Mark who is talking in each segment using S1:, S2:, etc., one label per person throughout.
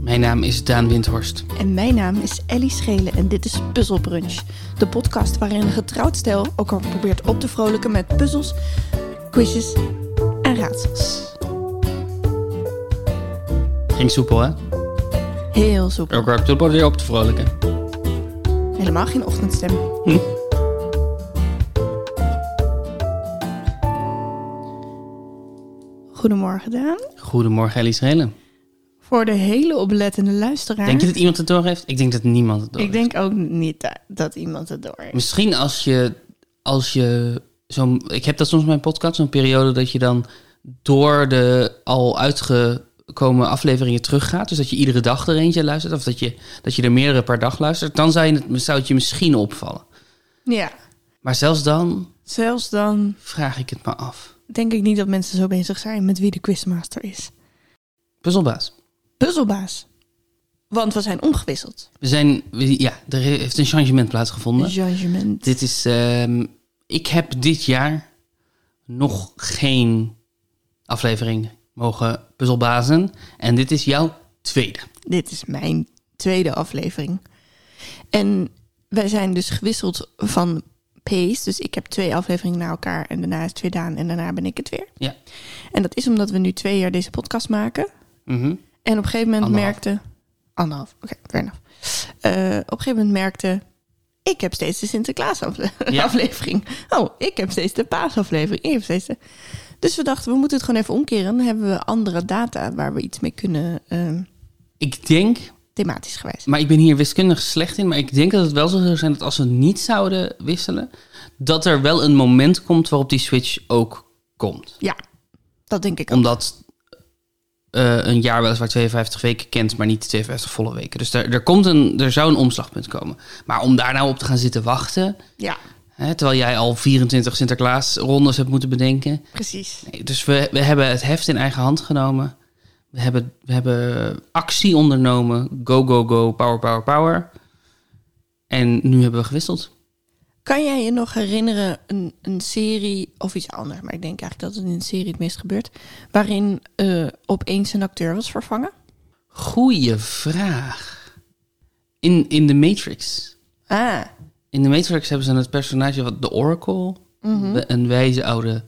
S1: Mijn naam is Daan Windhorst.
S2: En mijn naam is Ellie Schelen en dit is Puzzle Brunch. De podcast waarin een getrouwd stijl elkaar probeert op te vrolijken met puzzels, quizjes en raadsels.
S1: Ging soepel, hè?
S2: Heel soepel.
S1: Ook heb je weer op te vrolijken.
S2: Helemaal geen ochtendstem.
S1: Hm?
S2: Goedemorgen Daan.
S1: Goedemorgen, Ellie Schelen.
S2: Voor de hele oplettende luisteraar.
S1: Denk je dat iemand het door heeft? Ik denk dat niemand het door
S2: Ik
S1: heeft.
S2: denk ook niet da- dat iemand het door heeft.
S1: Misschien als je, als je zo'n... Ik heb dat soms in mijn podcast, zo'n periode dat je dan door de al uitgekomen afleveringen teruggaat. Dus dat je iedere dag er eentje luistert. Of dat je, dat je er meerdere per dag luistert. Dan zou, je het, zou het je misschien opvallen.
S2: Ja,
S1: Maar zelfs dan
S2: zelfs dan
S1: vraag ik het me af.
S2: denk ik niet dat mensen zo bezig zijn met wie de quizmaster is.
S1: Puzzelbaas.
S2: Puzzelbaas. Want we zijn omgewisseld.
S1: We zijn... we- ja, er heeft een changement plaatsgevonden.
S2: Judgment.
S1: Dit is. ehm, ik heb dit jaar nog geen aflevering mogen puzzelbazen. En dit is jouw tweede.
S2: Dit is mijn tweede aflevering. En wij zijn dus gewisseld van pace. Dus ik heb twee afleveringen na elkaar en daarna is het weer Daan en daarna ben ik het weer.
S1: Ja.
S2: En dat is omdat we nu twee jaar deze podcast maken.
S1: Mhm.
S2: En op een gegeven moment
S1: Anderhalf.
S2: merkte... Anderhalf, oké, fair enough. Eh, op een gegeven moment merkte... Ik heb steeds de Sinterklaas afle-
S1: Ja.
S2: aflevering. Oh, ik heb steeds de paasaflevering. Ik heb steeds de... Dus we dachten, we moeten het gewoon even omkeren. Dan hebben we andere data waar we iets mee kunnen, eh,
S1: Ik denk,
S2: thematisch gewijs.
S1: maar ik ben hier wiskundig slecht in, maar ik denk dat het wel zo zou zijn dat als we niet zouden wisselen, dat er wel een moment komt waarop die switch ook komt.
S2: Ja, dat denk ik ook.
S1: Omdat eh, een jaar weliswaar 52 weken kent, maar niet 52 volle weken. Dus er, er, komt een, er zou een omslagpunt komen. Maar om daar nou op te gaan zitten wachten,
S2: Ja,
S1: Hè, terwijl jij al 24 Sinterklaas-rondes hebt moeten bedenken.
S2: precies.
S1: Nee, dus we, we hebben het heft in eigen hand genomen. We hebben, we hebben actie ondernomen. Go, go, go, power, power, power. En nu hebben we gewisseld.
S2: Kan jij je nog herinneren een, een serie of iets anders? Maar ik denk eigenlijk dat het in een serie het meest gebeurt. Waarin eh, opeens een acteur was vervangen.
S1: Goeie vraag. In, in The Matrix.
S2: Ah,
S1: In The Matrix hebben ze het personage wat de Oracle,
S2: Mhm.
S1: de- een wijze oude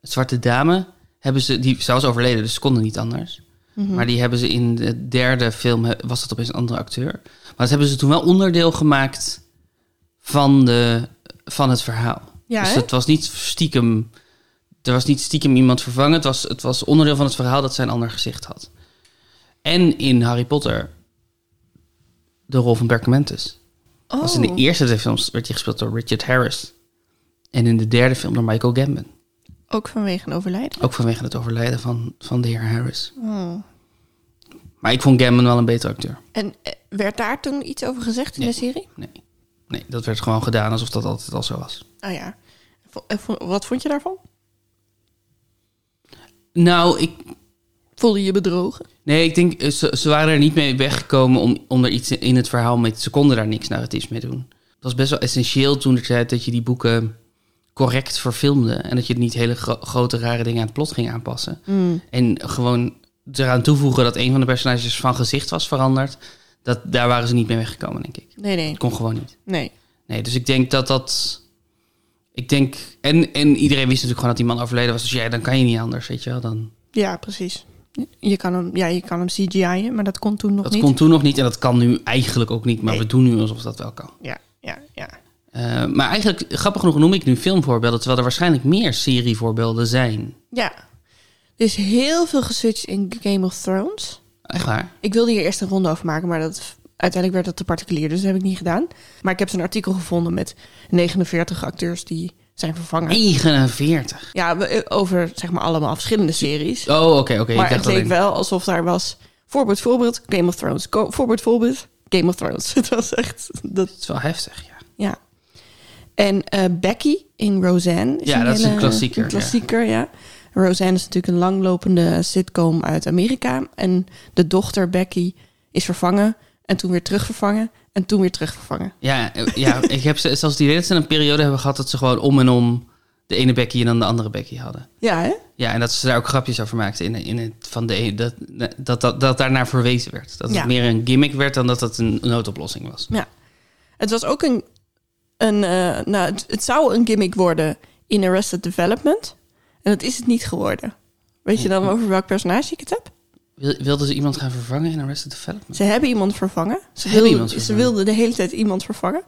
S1: zwarte dame, hebben ze, die zelfs overleden, dus ze konden niet anders.
S2: Mhm.
S1: Maar die hebben ze in de derde film, he- was dat opeens een andere acteur. Maar dat hebben ze toen wel onderdeel gemaakt van, de, van het verhaal.
S2: Ja,
S1: dus
S2: hè?
S1: het was niet stiekem, er was niet stiekem iemand vervangen. Het was, het was onderdeel van het verhaal dat zij een ander gezicht had. En in Harry Potter, de rol van Perkamentus.
S2: oh.
S1: Was in de eerste twee films werd hij gespeeld door Richard Harris. En in de derde film door Michael Gambon.
S2: ook vanwege een overlijden.
S1: Ook vanwege het overlijden van, van de heer Harris.
S2: Oh.
S1: Maar ik vond Gambon wel een betere acteur.
S2: En eh, werd daar toen iets over gezegd in
S1: Nee.
S2: de serie?
S1: Nee. nee, dat werd gewoon gedaan alsof dat altijd al zo was.
S2: Oh ja. Vo- eh, vo- Wat vond je daarvan?
S1: Nou, ik,
S2: Voelde je je bedrogen?
S1: nee, ik denk, eh, ze, ze waren er niet mee weggekomen om, om er iets in het verhaal mee... Ze konden daar niks narratiefs mee doen. Het was best wel essentieel toen de tijd dat je die boeken correct verfilmde. En dat je niet hele gro- grote rare dingen aan het plot ging aanpassen. En gewoon eraan toevoegen dat een van de personages van gezicht was veranderd. Dat, daar waren ze niet mee weggekomen, denk ik.
S2: Nee, nee.
S1: Het kon gewoon niet.
S2: Nee.
S1: Nee, dus ik denk dat dat... Ik denk... En, en iedereen wist natuurlijk gewoon dat die man overleden was. Dus ja, dan kan je niet anders, weet je wel. Dan,
S2: Ja, precies. Je kan hem, ja, je kan hem CGI'en, maar dat kon toen nog
S1: dat
S2: niet.
S1: kon toen nog niet en dat kan nu eigenlijk ook niet. Maar
S2: Nee.
S1: we doen nu alsof dat wel kan.
S2: Ja, ja, ja.
S1: Eh, maar eigenlijk, grappig genoeg noem ik nu filmvoorbeelden... terwijl er waarschijnlijk meer serievoorbeelden zijn.
S2: Ja. Er is heel veel geswitcht in Game of Thrones.
S1: Echt waar?
S2: Ik wilde hier eerst een ronde over maken, maar dat, uiteindelijk werd dat te particulier, dus dat heb ik niet gedaan. Maar ik heb een artikel gevonden met 49 acteurs die zijn vervangen.
S1: 49.
S2: Ja, we- eh, over zeg maar allemaal verschillende series.
S1: Oh, oké, oké. ik
S2: maar
S1: dacht
S2: het leek
S1: alleen...
S2: wel alsof daar was voorbeeld, voorbeeld, Game of Thrones. Ko- voorbeeld, voorbeeld, Game of Thrones. Het was echt, dat,
S1: Het is wel heftig, ja.
S2: ja. En eh, Becky in Roseanne. Is
S1: Ja, dat is een
S2: hele-
S1: klassieker,
S2: Een klassieker, ja. Roseanne is natuurlijk een langlopende sitcom uit Amerika. En de dochter Becky is vervangen. En toen weer terugvervangen. En toen weer terugvervangen.
S1: Ja, eh, ja ik heb ze- zelfs die idee dat ze een periode hebben gehad dat ze gewoon om en om de ene Becky en dan de andere Becky hadden.
S2: Ja, hè?
S1: Ja, en dat ze daar ook grapjes over maakten. In, in het, van de, ene- dat, dat, dat, dat daarnaar verwezen werd. Dat
S2: Ja.
S1: het meer een gimmick werd dan dat het een noodoplossing was.
S2: Ja. Het was ook een... een eh, nou, het, het zou een gimmick worden in Arrested Development. En dat is het niet geworden. Weet
S1: Hm.
S2: je dan over welk personage ik het heb?
S1: Wil, wilden ze iemand gaan vervangen in Arrested Development?
S2: Ze hebben iemand vervangen. Ze,
S1: hebben
S2: wilden,
S1: iemand
S2: ze
S1: vervangen.
S2: wilden de hele tijd iemand vervangen.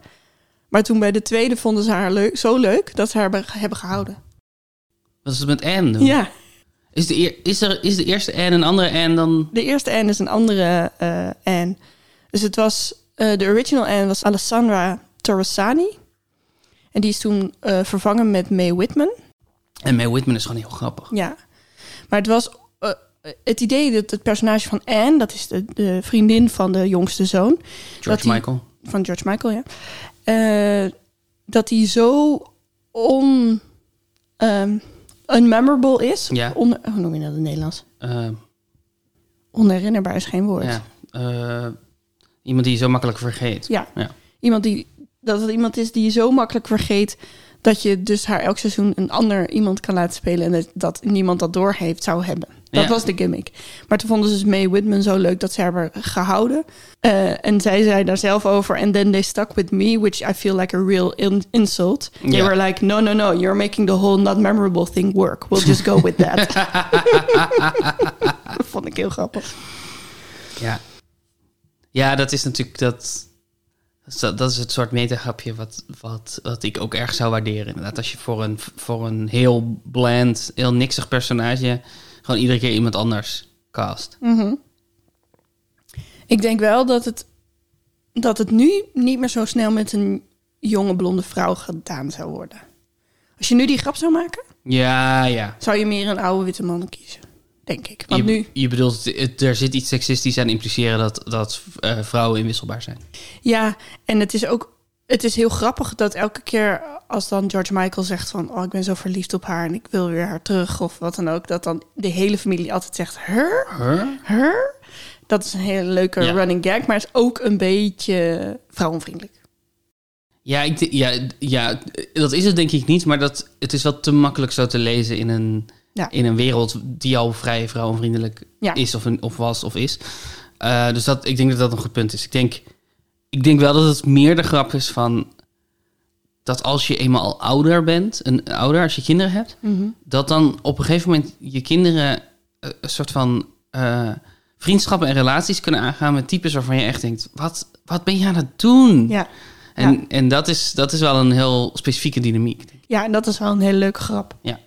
S2: Maar toen bij de tweede vonden ze haar leuk, zo leuk dat ze haar be- hebben gehouden.
S1: Wat is het met Anne doen?
S2: Ja,
S1: Is, de, eer- is, er, is de eerste Anne een andere Anne dan...
S2: de eerste Anne is een andere eh Anne. Dus het was, eh, de original Anne was Alessandra Torresani. En die is toen eh, vervangen met Mae Whitman.
S1: En Mae Whitman is gewoon heel grappig.
S2: Ja. Maar het was eh, het idee dat het personage van Anne, dat is de, de vriendin van de jongste zoon,
S1: George
S2: die-
S1: Michael.
S2: van George Michael, ja. Eh, dat hij zo on, ehm, unmemorable is.
S1: Ja.
S2: On- hoe noem je dat in het Nederlands?
S1: Eh,
S2: Onherinnerbaar is geen woord.
S1: ja. Eh, iemand die je zo makkelijk vergeet.
S2: Ja.
S1: Ja.
S2: Iemand die, dat het iemand is die je zo makkelijk vergeet... dat je dus haar elk seizoen een ander iemand kan laten spelen... en dat, dat niemand dat doorheeft zou hebben. Dat
S1: Ja.
S2: was de gimmick. Maar toen vonden ze dus Mae Whitman zo leuk dat ze haar hebben gehouden. Eh, en zij zei daar zelf over... and then they stuck with me, which I feel like a real in- insult. They
S1: Ja.
S2: were like, no, no, no, you're making the whole not memorable thing work. We'll just go with that. dat vond ik heel grappig.
S1: Ja. Ja, dat is natuurlijk dat. dat- Dat is het soort metagrapje wat, wat, wat ik ook erg zou waarderen. Inderdaad, als je voor een, voor een heel bland, heel niksig personage. gewoon iedere keer iemand anders cast.
S2: Mm. Ik denk wel dat het, dat het nu niet meer zo snel met een jonge blonde vrouw gedaan zou worden. Als je nu die grap zou maken,
S1: Ja, ja.
S2: zou je meer een oude witte man kiezen. Denk ik. Want
S1: je,
S2: nu,
S1: je bedoelt, het- er zit iets seksistisch aan impliceren dat, dat eh, vrouwen inwisselbaar zijn.
S2: ja, en het is ook. Het is heel grappig dat elke keer als dan George Michael zegt van... oh, ik ben zo verliefd op haar en ik wil weer haar terug of wat dan ook... dat dan de hele familie altijd zegt, her,
S1: Huh?
S2: her. Dat is een hele leuke
S1: Ja.
S2: running gag, maar is ook een beetje vrouwenvriendelijk.
S1: Ja, ik, d- ja, d- ja, dat is het denk ik niet, maar dat, het is wel te makkelijk zo te lezen in een,
S2: Ja.
S1: in een wereld die al vrij vrouwenvriendelijk
S2: Ja.
S1: is of, een, of was of is. Eh, dus dat, ik denk dat dat een goed punt is. Ik denk, ik denk wel dat het meer de grap is van dat als je eenmaal al ouder bent, een ouder, als je kinderen hebt,
S2: Mhm.
S1: dat dan op een gegeven moment je kinderen eh, een soort van eh, vriendschappen en relaties kunnen aangaan met types waarvan je echt denkt, wat, wat ben je aan het doen?
S2: Ja.
S1: En, en dat, is, dat is wel een heel specifieke dynamiek. denk ik.
S2: Ja, en dat is wel een hele leuke grap.
S1: Ja.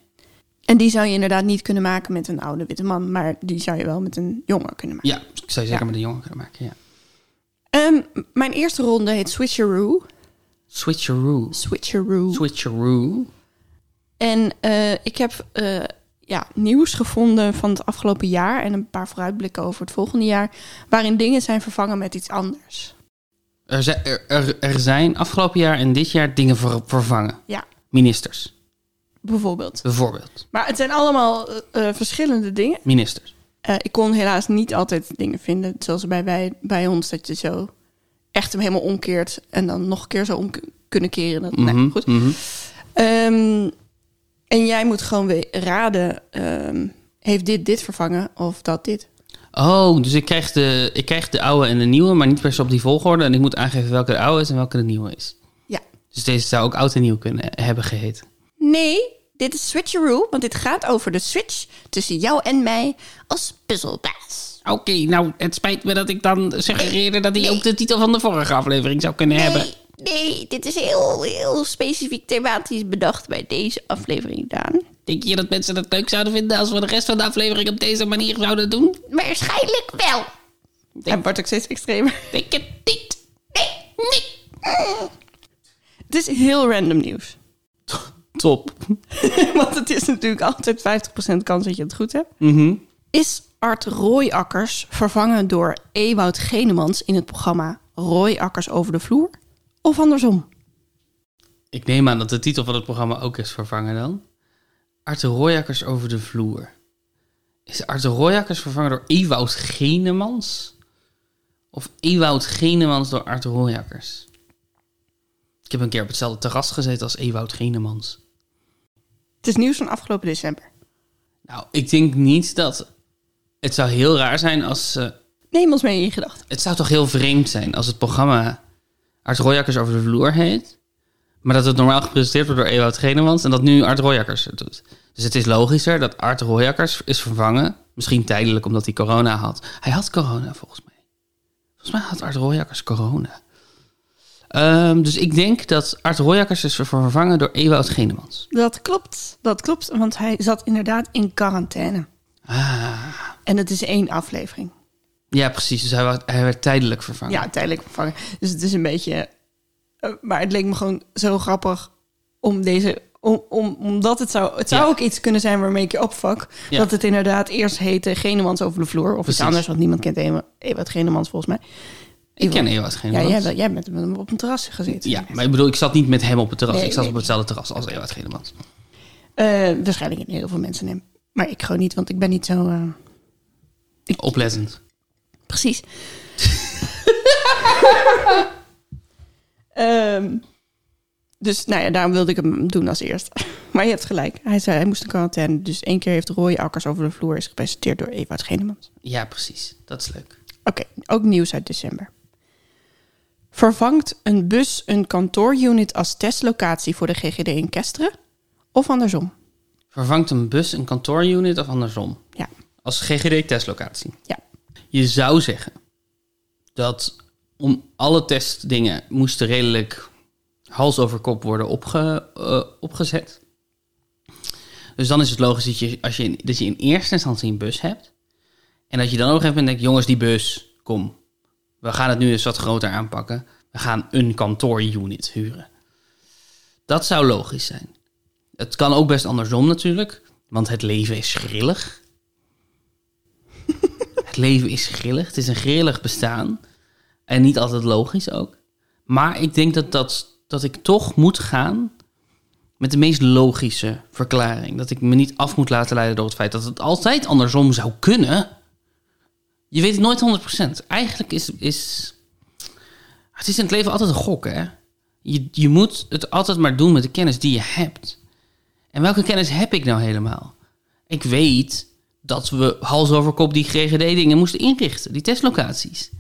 S2: En die zou je inderdaad niet kunnen maken met een oude witte man, maar die zou je wel met een jongen kunnen maken.
S1: ja, ik zou je zeker met een jongen kunnen maken. Ja.
S2: Ehm, m- mijn eerste ronde heet Switcheroo.
S1: Switcheroo.
S2: Switcheroo.
S1: Switcheroo.
S2: en eh, ik heb eh, ja, nieuws gevonden van het afgelopen jaar en een paar vooruitblikken over het volgende jaar, waarin dingen zijn vervangen met iets anders.
S1: Er, zi- er, er, er zijn afgelopen jaar en dit jaar dingen ver- vervangen.
S2: Ja,
S1: Ministers,
S2: bijvoorbeeld.
S1: bijvoorbeeld.
S2: Maar het zijn allemaal eh, eh, verschillende dingen.
S1: Ministers.
S2: Eh, ik kon helaas niet altijd dingen vinden, zoals bij, wij, bij ons, dat je zo echt hem helemaal omkeert en dan nog een keer zo om k- kunnen keren. Dat, nou,
S1: Mhm,
S2: goed.
S1: mhm.
S2: Ehm, en jij moet gewoon weer raden, ehm, heeft dit dit vervangen of dat dit?
S1: Oh, dus ik krijg, de, ik krijg de oude en de nieuwe, maar niet per se op die volgorde. En ik moet aangeven welke de oude is en welke de nieuwe is.
S2: Ja.
S1: Dus deze zou ook oud en nieuw kunnen hebben geheten.
S2: Nee, dit is Switcheroo, want dit gaat over de switch tussen jou en mij als puzzelbaas.
S1: Oké, nou, het spijt me dat ik dan suggereerde dat hij ook de titel van de vorige aflevering zou kunnen hebben.
S2: Nee, nee, dit is heel, heel specifiek thematisch bedacht bij deze aflevering, Daan.
S1: Denk je dat mensen het leuk zouden vinden als we de rest van de aflevering op deze manier zouden doen?
S2: Waarschijnlijk wel. En wordt ook steeds extremer.
S1: Denk het niet.
S2: Het is heel random nieuws.
S1: Top.
S2: Want het is natuurlijk altijd 50% kans dat je het goed hebt. Is Art Rooiakkers vervangen door Ewout Genemans in het programma Rooiakkers over de vloer? Of andersom?
S1: Ik neem aan dat de titel van het programma ook is vervangen dan. Arthur Royakkers over de vloer. Is Arthur Royakkers vervangen door Ewout Genemans? Of Ewout Genemans door Arthur Royakkers? Ik heb een keer op hetzelfde terras gezeten als Ewout Genemans.
S2: Het is nieuws van afgelopen december.
S1: Nou, ik denk niet dat... Het zou heel raar zijn als... ze-
S2: Neem ons mee in je gedachten.
S1: het zou toch heel vreemd zijn als het programma... Art Royakkers over de vloer heet... Maar dat het normaal gepresenteerd wordt door Ewout Genemans... en dat nu Art Royakkers het doet. Dus het is logischer dat Art Royakkers is vervangen. Misschien tijdelijk omdat hij corona had. Hij had corona volgens mij. Volgens mij had Art Royakkers corona. Ehm, dus ik denk dat Art Royakkers is ver- vervangen door Ewout Genemans.
S2: Dat klopt, dat klopt, want hij zat inderdaad in quarantaine.
S1: Ah.
S2: En het is één aflevering.
S1: Ja, precies. Dus hij werd, hij werd tijdelijk vervangen.
S2: Ja, tijdelijk vervangen. Dus het is een beetje... eh, maar het leek me gewoon zo grappig om deze... Om, om, omdat het zou... Het zou
S1: Ja.
S2: ook iets kunnen zijn waarmee ik je opvak.
S1: Ja.
S2: Dat het inderdaad eerst heette Genemans over de vloer. Of
S1: Precies.
S2: iets anders, want niemand kent Ewa- Ewout Genemans volgens mij.
S1: ik ken Ewout
S2: Ja,
S1: Genemans.
S2: jij, wel- jij bent met hem op een terras gezeten.
S1: Ja, maar ik bedoel, ik zat niet met hem op het terras.
S2: Nee,
S1: ik zat
S2: nee.
S1: op hetzelfde terras als Ewout Genemans.
S2: Eh, waarschijnlijk in heel veel mensen hem. Maar ik gewoon niet, want ik ben niet zo... eh,
S1: Oplettend.
S2: Precies. Ehm, dus nou ja, daarom wilde ik hem doen als eerst. Maar je hebt gelijk. Hij zei hij moest in quarantaine. Dus één keer heeft Roy Akkers over de vloer is gepresenteerd door Ewout Genemans.
S1: Ja, precies. Dat is leuk.
S2: Oké, ook nieuws uit december. Vervangt een bus een kantoorunit als testlocatie voor de GGD in Kesteren? Of andersom?
S1: Vervangt een bus een kantoorunit of andersom?
S2: Ja,
S1: Als GGD-testlocatie.
S2: ja.
S1: Je zou zeggen dat om alle testdingen moesten redelijk hals over kop worden opge, eh, opgezet. Dus dan is het logisch dat je, als je, in, dat je in eerste instantie een bus hebt. En dat je dan op een gegeven moment denkt, jongens, die bus, kom. We gaan het nu eens wat groter aanpakken. We gaan een kantoorunit huren. Dat zou logisch zijn. Het kan ook best andersom natuurlijk, want het leven is grillig. Het leven is grillig. Het is een grillig bestaan. En niet altijd logisch ook. Maar ik denk dat, dat, dat ik toch moet gaan met de meest logische verklaring. Dat ik me niet af moet laten leiden door het feit dat het altijd andersom zou kunnen. Je weet het nooit 100%. Eigenlijk is, is... Het is in het leven altijd een gok, hè? Je, je moet het altijd maar doen met de kennis die je hebt. En welke kennis heb ik nou helemaal? Ik weet dat we hals over kop die GGD-dingen moesten inrichten, die testlocaties.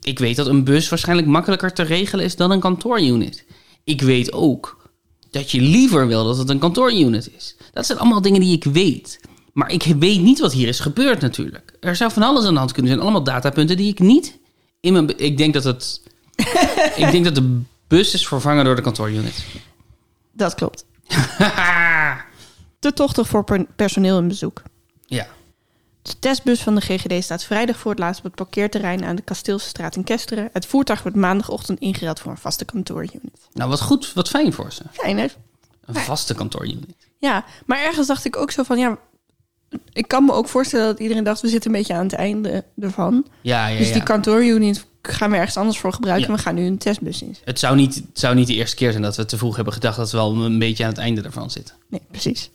S1: Ik weet dat een bus waarschijnlijk makkelijker te regelen is dan een kantoorunit. Ik weet ook dat je liever wil dat het een kantoorunit is. Dat zijn allemaal dingen die ik weet. Maar ik weet niet wat hier is gebeurd natuurlijk. Er zou van alles aan de hand kunnen zijn. Allemaal datapunten die ik niet in mijn... be- Ik denk dat het... ik denk dat de bus is vervangen door de kantoorunit.
S2: dat klopt. Te tochtig voor per- personeel in bezoek.
S1: ja.
S2: De testbus van de GGD staat vrijdag voor het laatst op het parkeerterrein aan de Kasteelsestraat in Kesteren. Het voertuig wordt maandagochtend ingereld voor een vaste kantoorunit.
S1: Nou, wat goed, wat fijn voor ze.
S2: Fijn hè?
S1: Een vaste kantoorunit.
S2: Ja, maar ergens dacht ik ook zo van, ja, ik kan me ook voorstellen dat iedereen dacht, we zitten een beetje aan het einde ervan.
S1: Ja, ja,
S2: Dus die
S1: ja.
S2: kantoorunit gaan we ergens anders voor gebruiken.
S1: Ja.
S2: We gaan nu een testbus in.
S1: Het zou, niet, het zou niet de eerste keer zijn dat we te vroeg hebben gedacht dat we wel een beetje aan het einde ervan zitten.
S2: Nee, precies.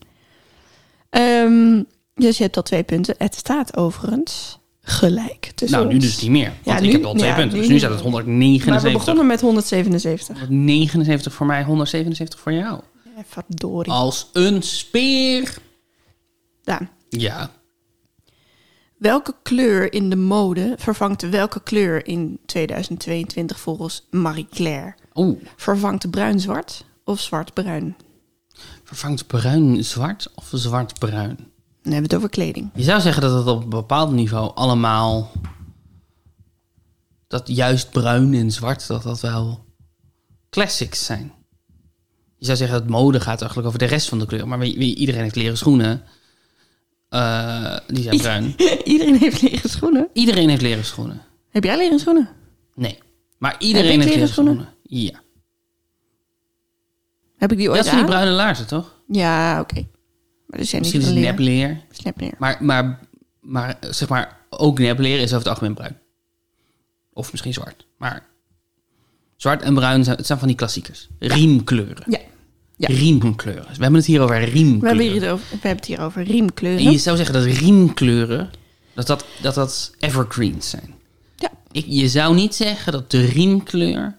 S2: Ehm, dus je hebt al twee punten. Het staat overigens gelijk tussen
S1: nou, nu
S2: ons.
S1: dus niet meer. Want
S2: Ja,
S1: ik
S2: nu-
S1: heb al twee
S2: ja,
S1: punten.
S2: nu
S1: Dus nu
S2: niet
S1: staat het
S2: meer. Maar we
S1: 179.
S2: begonnen met 177.
S1: 179 voor mij, 177 voor jou.
S2: Ja, verdorie.
S1: Als een speer.
S2: Daan.
S1: Ja.
S2: Welke kleur in de mode vervangt welke kleur in 2022 volgens Marie Claire?
S1: Oeh,
S2: Vervangt bruin-zwart of zwart-bruin?
S1: vervangt bruin zwart of zwart bruin?
S2: Dan hebben we het over kleding.
S1: Je zou zeggen dat het op een bepaald niveau allemaal... Dat juist bruin en zwart, dat dat wel classics zijn. Je zou zeggen dat mode gaat eigenlijk over de rest van de kleur. Maar wie- wie- iedereen heeft leren schoenen. Eh, die zijn bruin.
S2: Iedereen heeft leren schoenen.
S1: Iedereen heeft leren schoenen.
S2: Heb jij leren schoenen?
S1: Nee. Maar
S2: Heb
S1: iedereen
S2: ik
S1: heeft
S2: leren
S1: leren schoenen.
S2: schoenen?
S1: Ja.
S2: Heb ik die
S1: Dat
S2: ooit
S1: zijn die
S2: aan?
S1: bruine laarzen, toch?
S2: Ja, oké. Maar er
S1: Misschien
S2: zijn
S1: is
S2: niet
S1: het
S2: van leren.
S1: nepleer.
S2: Snapleer.
S1: Maar, maar, maar eh, zeg maar, ook nepleer is over het algemeen bruin. Of misschien zwart. Maar zwart en bruin zijn, het zijn van die klassiekers. Riemkleuren.
S2: Ja. Ja.
S1: Riemkleuren. We hebben het hier over riemkleuren.
S2: We hebben, hier over, we hebben het hier over riemkleuren.
S1: En je zou zeggen dat riemkleuren, dat dat, dat, dat evergreens zijn.
S2: Ja.
S1: Ik, je zou niet zeggen dat de riemkleur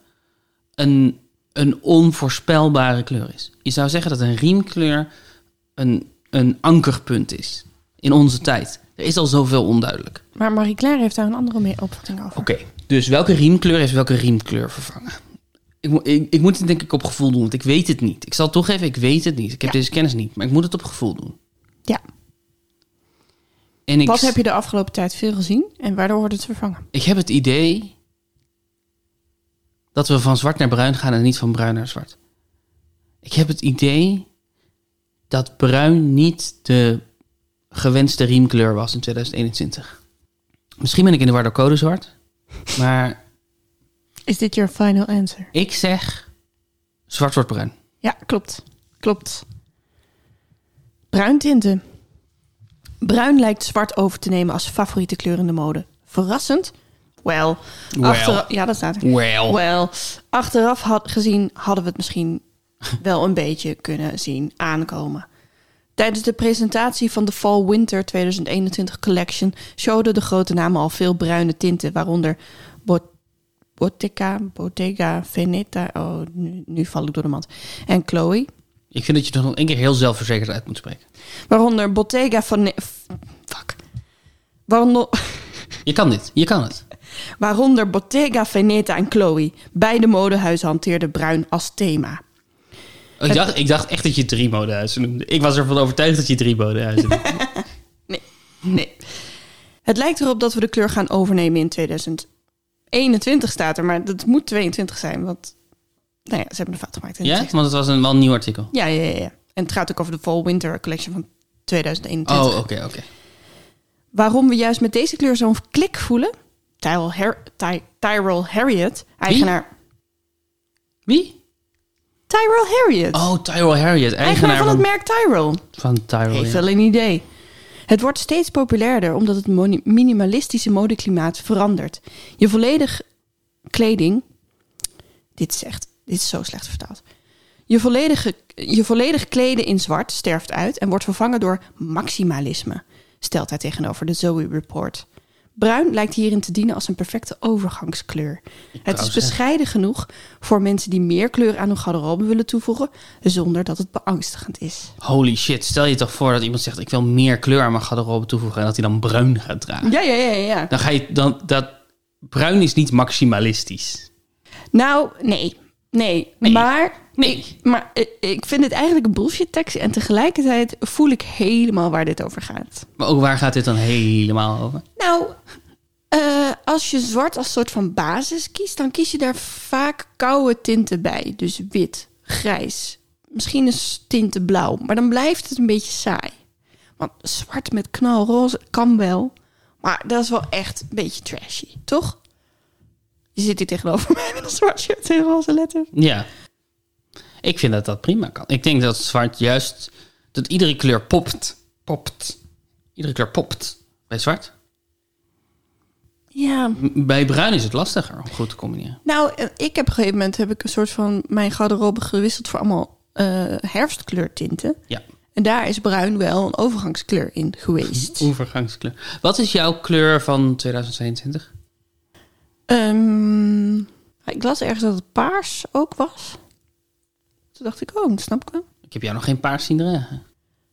S1: een, een onvoorspelbare kleur is. Je zou zeggen dat een riemkleur een, een ankerpunt is in onze tijd. Er is al zoveel onduidelijk.
S2: Maar Marie-Claire heeft daar een andere mee- opvatting over.
S1: Oké, dus welke riemkleur heeft welke riemkleur vervangen? Ik, mo- ik, ik moet het denk ik op gevoel doen, want ik weet het niet. Ik zal toegeven, ik weet het niet. Ik heb
S2: Ja.
S1: deze kennis niet, maar ik moet het op gevoel doen.
S2: Ja.
S1: En ik,
S2: Wat heb je de afgelopen tijd veel gezien en waardoor wordt het vervangen?
S1: ik heb het idee dat we van zwart naar bruin gaan en niet van bruin naar zwart. Ik heb het idee dat bruin niet de gewenste riemkleur was in 2021. Misschien ben ik in de war door code zwart, maar
S2: Is dit your final answer?
S1: ik zeg zwart wordt bruin.
S2: Ja, klopt. Klopt. Bruintinten. Bruin lijkt zwart over te nemen als favoriete kleur in de mode. Verrassend? Wel.
S1: Wel.
S2: achteraf- Ja, dat staat er.
S1: Well.
S2: Wel, achteraf had, gezien hadden we het misschien wel een beetje kunnen zien aankomen. Tijdens de presentatie van de Fall Winter 2021 Collection showden de grote namen al veel bruine tinten, waaronder Bot- Bottega, Bottega, Veneta, oh, nu, nu val ik door de mand, en Chloe.
S1: Ik vind dat je er nog één keer heel zelfverzekerd uit moet spreken.
S2: Waaronder Bottega van... Fuck. Waaronder,
S1: Je kan dit, je kan het.
S2: waaronder Bottega, Veneta en Chloe. Beide modehuizen hanteerden bruin als thema.
S1: Ik dacht, ik dacht echt dat je drie modehuizen noemde. Ik was ervan overtuigd dat je drie modehuizen noemde.
S2: Nee, nee. Het lijkt erop dat we de kleur gaan overnemen in 2021 staat er, maar dat moet 22 zijn, want nou ja, ze hebben een fout gemaakt. in de
S1: Ja?
S2: tekst.
S1: Want het was een, wel een nieuw artikel.
S2: ja, ja, ja, ja. En het gaat ook over de Fall Winter Collection van 2021.
S1: Oh, oké, oké.
S2: Waarom we juist met deze kleur zo'n klik voelen? Tyrell, Har- Ty- Tyrell Harriet, eigenaar...
S1: Wie?
S2: Tyrell Harriet,
S1: Oh, Tyrell Harriet,
S2: eigenaar van het
S1: van,
S2: merk Tyrell.
S1: van Tyrell.
S2: Heeft
S1: ja.
S2: wel een idee. Het wordt steeds populairder omdat het moni- minimalistische modeklimaat verandert. Je volledig kleding. Dit is echt. Dit is zo slecht vertaald. Je volledige, je volledig kleden in zwart sterft uit en wordt vervangen door maximalisme, stelt hij tegenover de Zoe Report. Bruin lijkt hierin te dienen als een perfecte overgangskleur. Het is
S1: trouwens, hè.
S2: bescheiden genoeg voor mensen die meer kleur aan hun garderobe willen toevoegen, zonder dat het beangstigend is.
S1: Holy shit, stel je toch voor dat iemand zegt... ik wil meer kleur aan mijn garderobe toevoegen... en dat hij dan bruin gaat dragen.
S2: Ja, ja, ja, ja.
S1: Dan ga je... Dan, dat, bruin is niet maximalistisch.
S2: Nou, nee. Nee.
S1: Nee.
S2: Maar,
S1: Nee.
S2: maar eh, ik vind het eigenlijk een bullshit tekst. En tegelijkertijd voel ik helemaal waar dit over gaat.
S1: Maar ook waar gaat dit dan helemaal over?
S2: Nou, eh, als je zwart als soort van basis kiest, dan kies je daar vaak koude tinten bij. Dus wit, grijs, misschien een tinten blauw. Maar dan blijft het een beetje saai. Want zwart met knalroze kan wel. Maar dat is wel echt een beetje trashy, toch? Je zit hier tegenover mij met een zwart shirt en roze letters.
S1: Ja. Ik vind dat dat prima kan. Ik denk dat zwart juist... dat iedere kleur popt. Popt. Iedere kleur popt bij zwart.
S2: Ja,
S1: M- Bij bruin is het lastiger om goed te combineren.
S2: nou, eh, ik heb op een gegeven moment heb ik een soort van mijn garderobe gewisseld voor allemaal eh, herfstkleurtinten.
S1: Ja.
S2: En daar is bruin wel een overgangskleur in geweest.
S1: Overgangskleur. Wat is jouw kleur van 2022?
S2: Ehm, ik las ergens dat het paars ook was. Toen dacht ik, oh, dat snap ik wel.
S1: Ik heb jou nog geen paars zien dragen.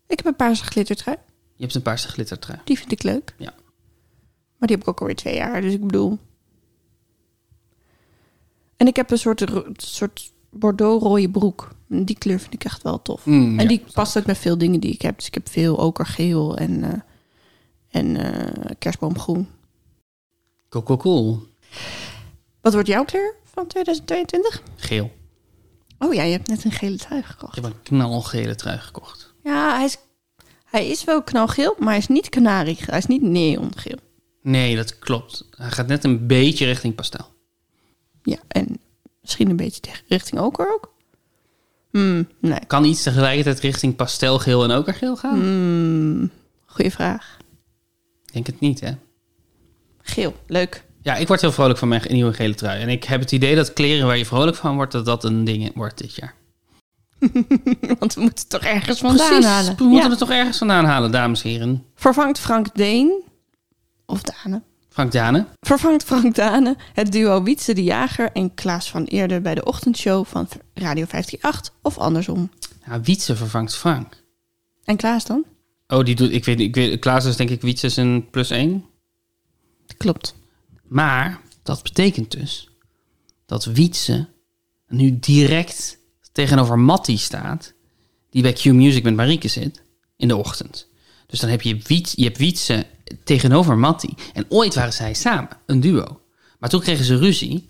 S2: Ik heb een paarse glittertrui.
S1: Je hebt een paarse glittertrui.
S2: Die vind ik leuk.
S1: Ja.
S2: Maar die heb ik ook alweer twee jaar, dus ik bedoel... En ik heb een soort, ro- soort bordeaux-rode broek. En Die kleur vind ik echt wel tof.
S1: Mm,
S2: en
S1: ja.
S2: die past ook bij veel dingen die ik heb. Dus ik heb veel okergeel en, eh, en eh, kerstboomgroen.
S1: Cool, cool, cool.
S2: Wat wordt jouw kleur van 2022?
S1: Geel.
S2: Oh ja, je hebt net een gele trui
S1: Ik
S2: gekocht.
S1: heb een knalgele trui gekocht.
S2: Ja, hij is, hij is wel knalgeel, maar hij is niet kanarie. Hij is niet neongeel.
S1: Nee, dat klopt. Hij gaat net een beetje richting pastel.
S2: Ja, en misschien een beetje tegen- richting oker ook. Hmm, nee.
S1: Kan iets tegelijkertijd richting pastelgeel en okergeel gaan?
S2: Hmm, goeie vraag.
S1: Ik denk het niet, hè?
S2: Geel, leuk.
S1: Ja, ik word heel vrolijk van mijn ge- nieuwe gele trui. En ik heb het idee dat kleren waar je vrolijk van wordt, dat dat een ding wordt dit jaar.
S2: Want we moeten het toch ergens vandaan halen.
S1: we moeten
S2: Ja.
S1: het toch ergens vandaan halen, dames en heren.
S2: Vervangt Frank Deen, of Dane,
S1: Frank Dane.
S2: vervangt Frank Dane het duo Wietse de Jager en Klaas van Eerder bij de ochtendshow van Radio 158 of andersom.
S1: Ja, Wietse vervangt Frank.
S2: En Klaas dan?
S1: Oh, die doet, ik weet niet, ik weet, Klaas is denk ik Wietjes een plus één.
S2: Klopt.
S1: Maar dat betekent dus dat Wietse nu direct tegenover Matty staat, die bij Q Music met Marieke zit, in de ochtend. Dus dan heb je, Wiet, je hebt Wietse tegenover Matty. En ooit waren zij samen, een duo. Maar toen kregen ze ruzie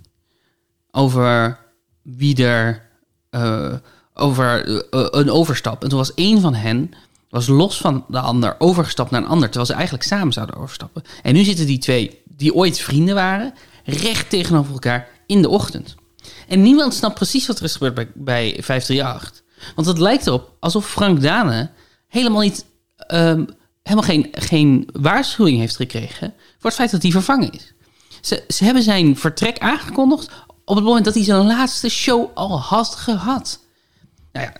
S1: over wie er. eh, over eh, een overstap. En toen was één van hen. was los van de ander overgestapt naar een ander. Terwijl ze eigenlijk samen zouden overstappen. En nu zitten die twee, die ooit vrienden waren. recht tegenover elkaar in de ochtend. En niemand snapt precies wat er is gebeurd bij, bij 538. Want het lijkt erop alsof Frank Dane. helemaal niet. ehm, helemaal geen, geen waarschuwing heeft gekregen. voor het feit dat hij vervangen is. Ze, ze hebben zijn vertrek aangekondigd op het moment dat hij zijn laatste show al had gehad. Nou ja,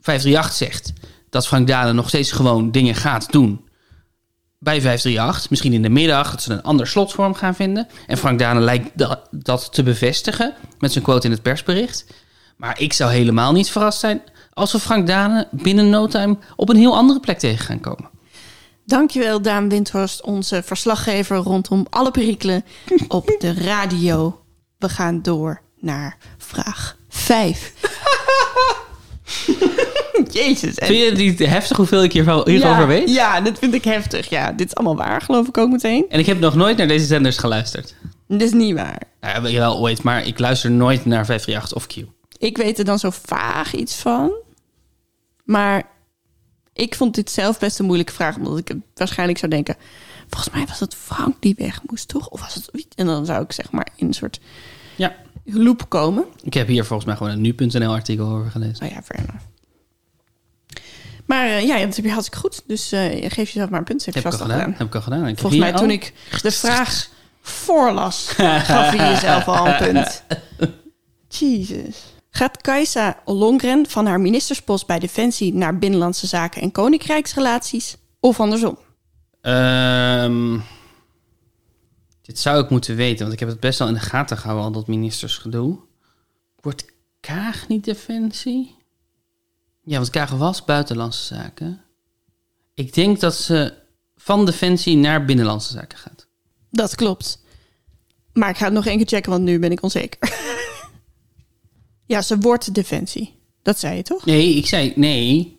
S1: 538 zegt dat Frank Dalen nog steeds gewoon dingen gaat doen. Bij 538, misschien in de middag, dat ze een ander slot voor hem gaan vinden. En Frank Dalen lijkt da- dat te bevestigen met zijn quote in het persbericht. Maar ik zou helemaal niet verrast zijn als we Frank Dalen binnen no time op een heel andere plek tegen gaan komen.
S2: Dankjewel, Daan Windhorst, onze verslaggever rondom alle perikelen op de radio. We gaan door naar vraag 5. Jezus. en-
S1: Vind je het niet heftig hoeveel ik hiervan- hierover
S2: ja,
S1: weet?
S2: Ja, dit vind ik heftig. Ja, dit is allemaal waar, geloof ik ook meteen.
S1: En ik heb nog nooit naar deze zenders geluisterd.
S2: Dit is niet waar.
S1: Nou, ja, wel ooit, maar ik luister nooit naar 538 of Q.
S2: Ik weet er dan zo vaag iets van. Maar ik vond dit zelf best een moeilijke vraag. Omdat ik het waarschijnlijk zou denken... Volgens mij was het Frank die weg moest, toch? Of was het... wie- En dan zou ik zeg maar in een soort
S1: Ja.
S2: loop komen.
S1: Ik heb hier volgens mij gewoon een nu.nl artikel over gelezen.
S2: Nou ja, fair enough. Maar eh, ja, dat heb je hartstikke goed. Dus eh, geef jezelf maar een punt. Dat Heb
S1: Heb
S2: je
S1: ik al
S2: vast al
S1: gedaan?
S2: gedaan.
S1: Heb ik al gedaan? Ik
S2: Volgens mij
S1: heb
S2: toen
S1: hier
S2: ik de vraag voorlas, gaf je jezelf al een punt. Jezus. Gaat Kajsa Ollongren van haar ministerspost bij Defensie naar Binnenlandse Zaken en Koninkrijksrelaties? Of andersom?
S1: al- Ehm, dit zou ik moeten weten, want ik heb het best wel in de gaten gehouden, al dat ministersgedoe. Wordt Kaag niet defensie? Ja, want Kaag was buitenlandse zaken. Ik denk dat ze van defensie naar binnenlandse zaken gaat.
S2: Dat klopt. Maar ik ga het nog één keer checken, want nu ben ik onzeker. ja, ze wordt Defensie. Dat zei je toch?
S1: Nee, ik zei nee.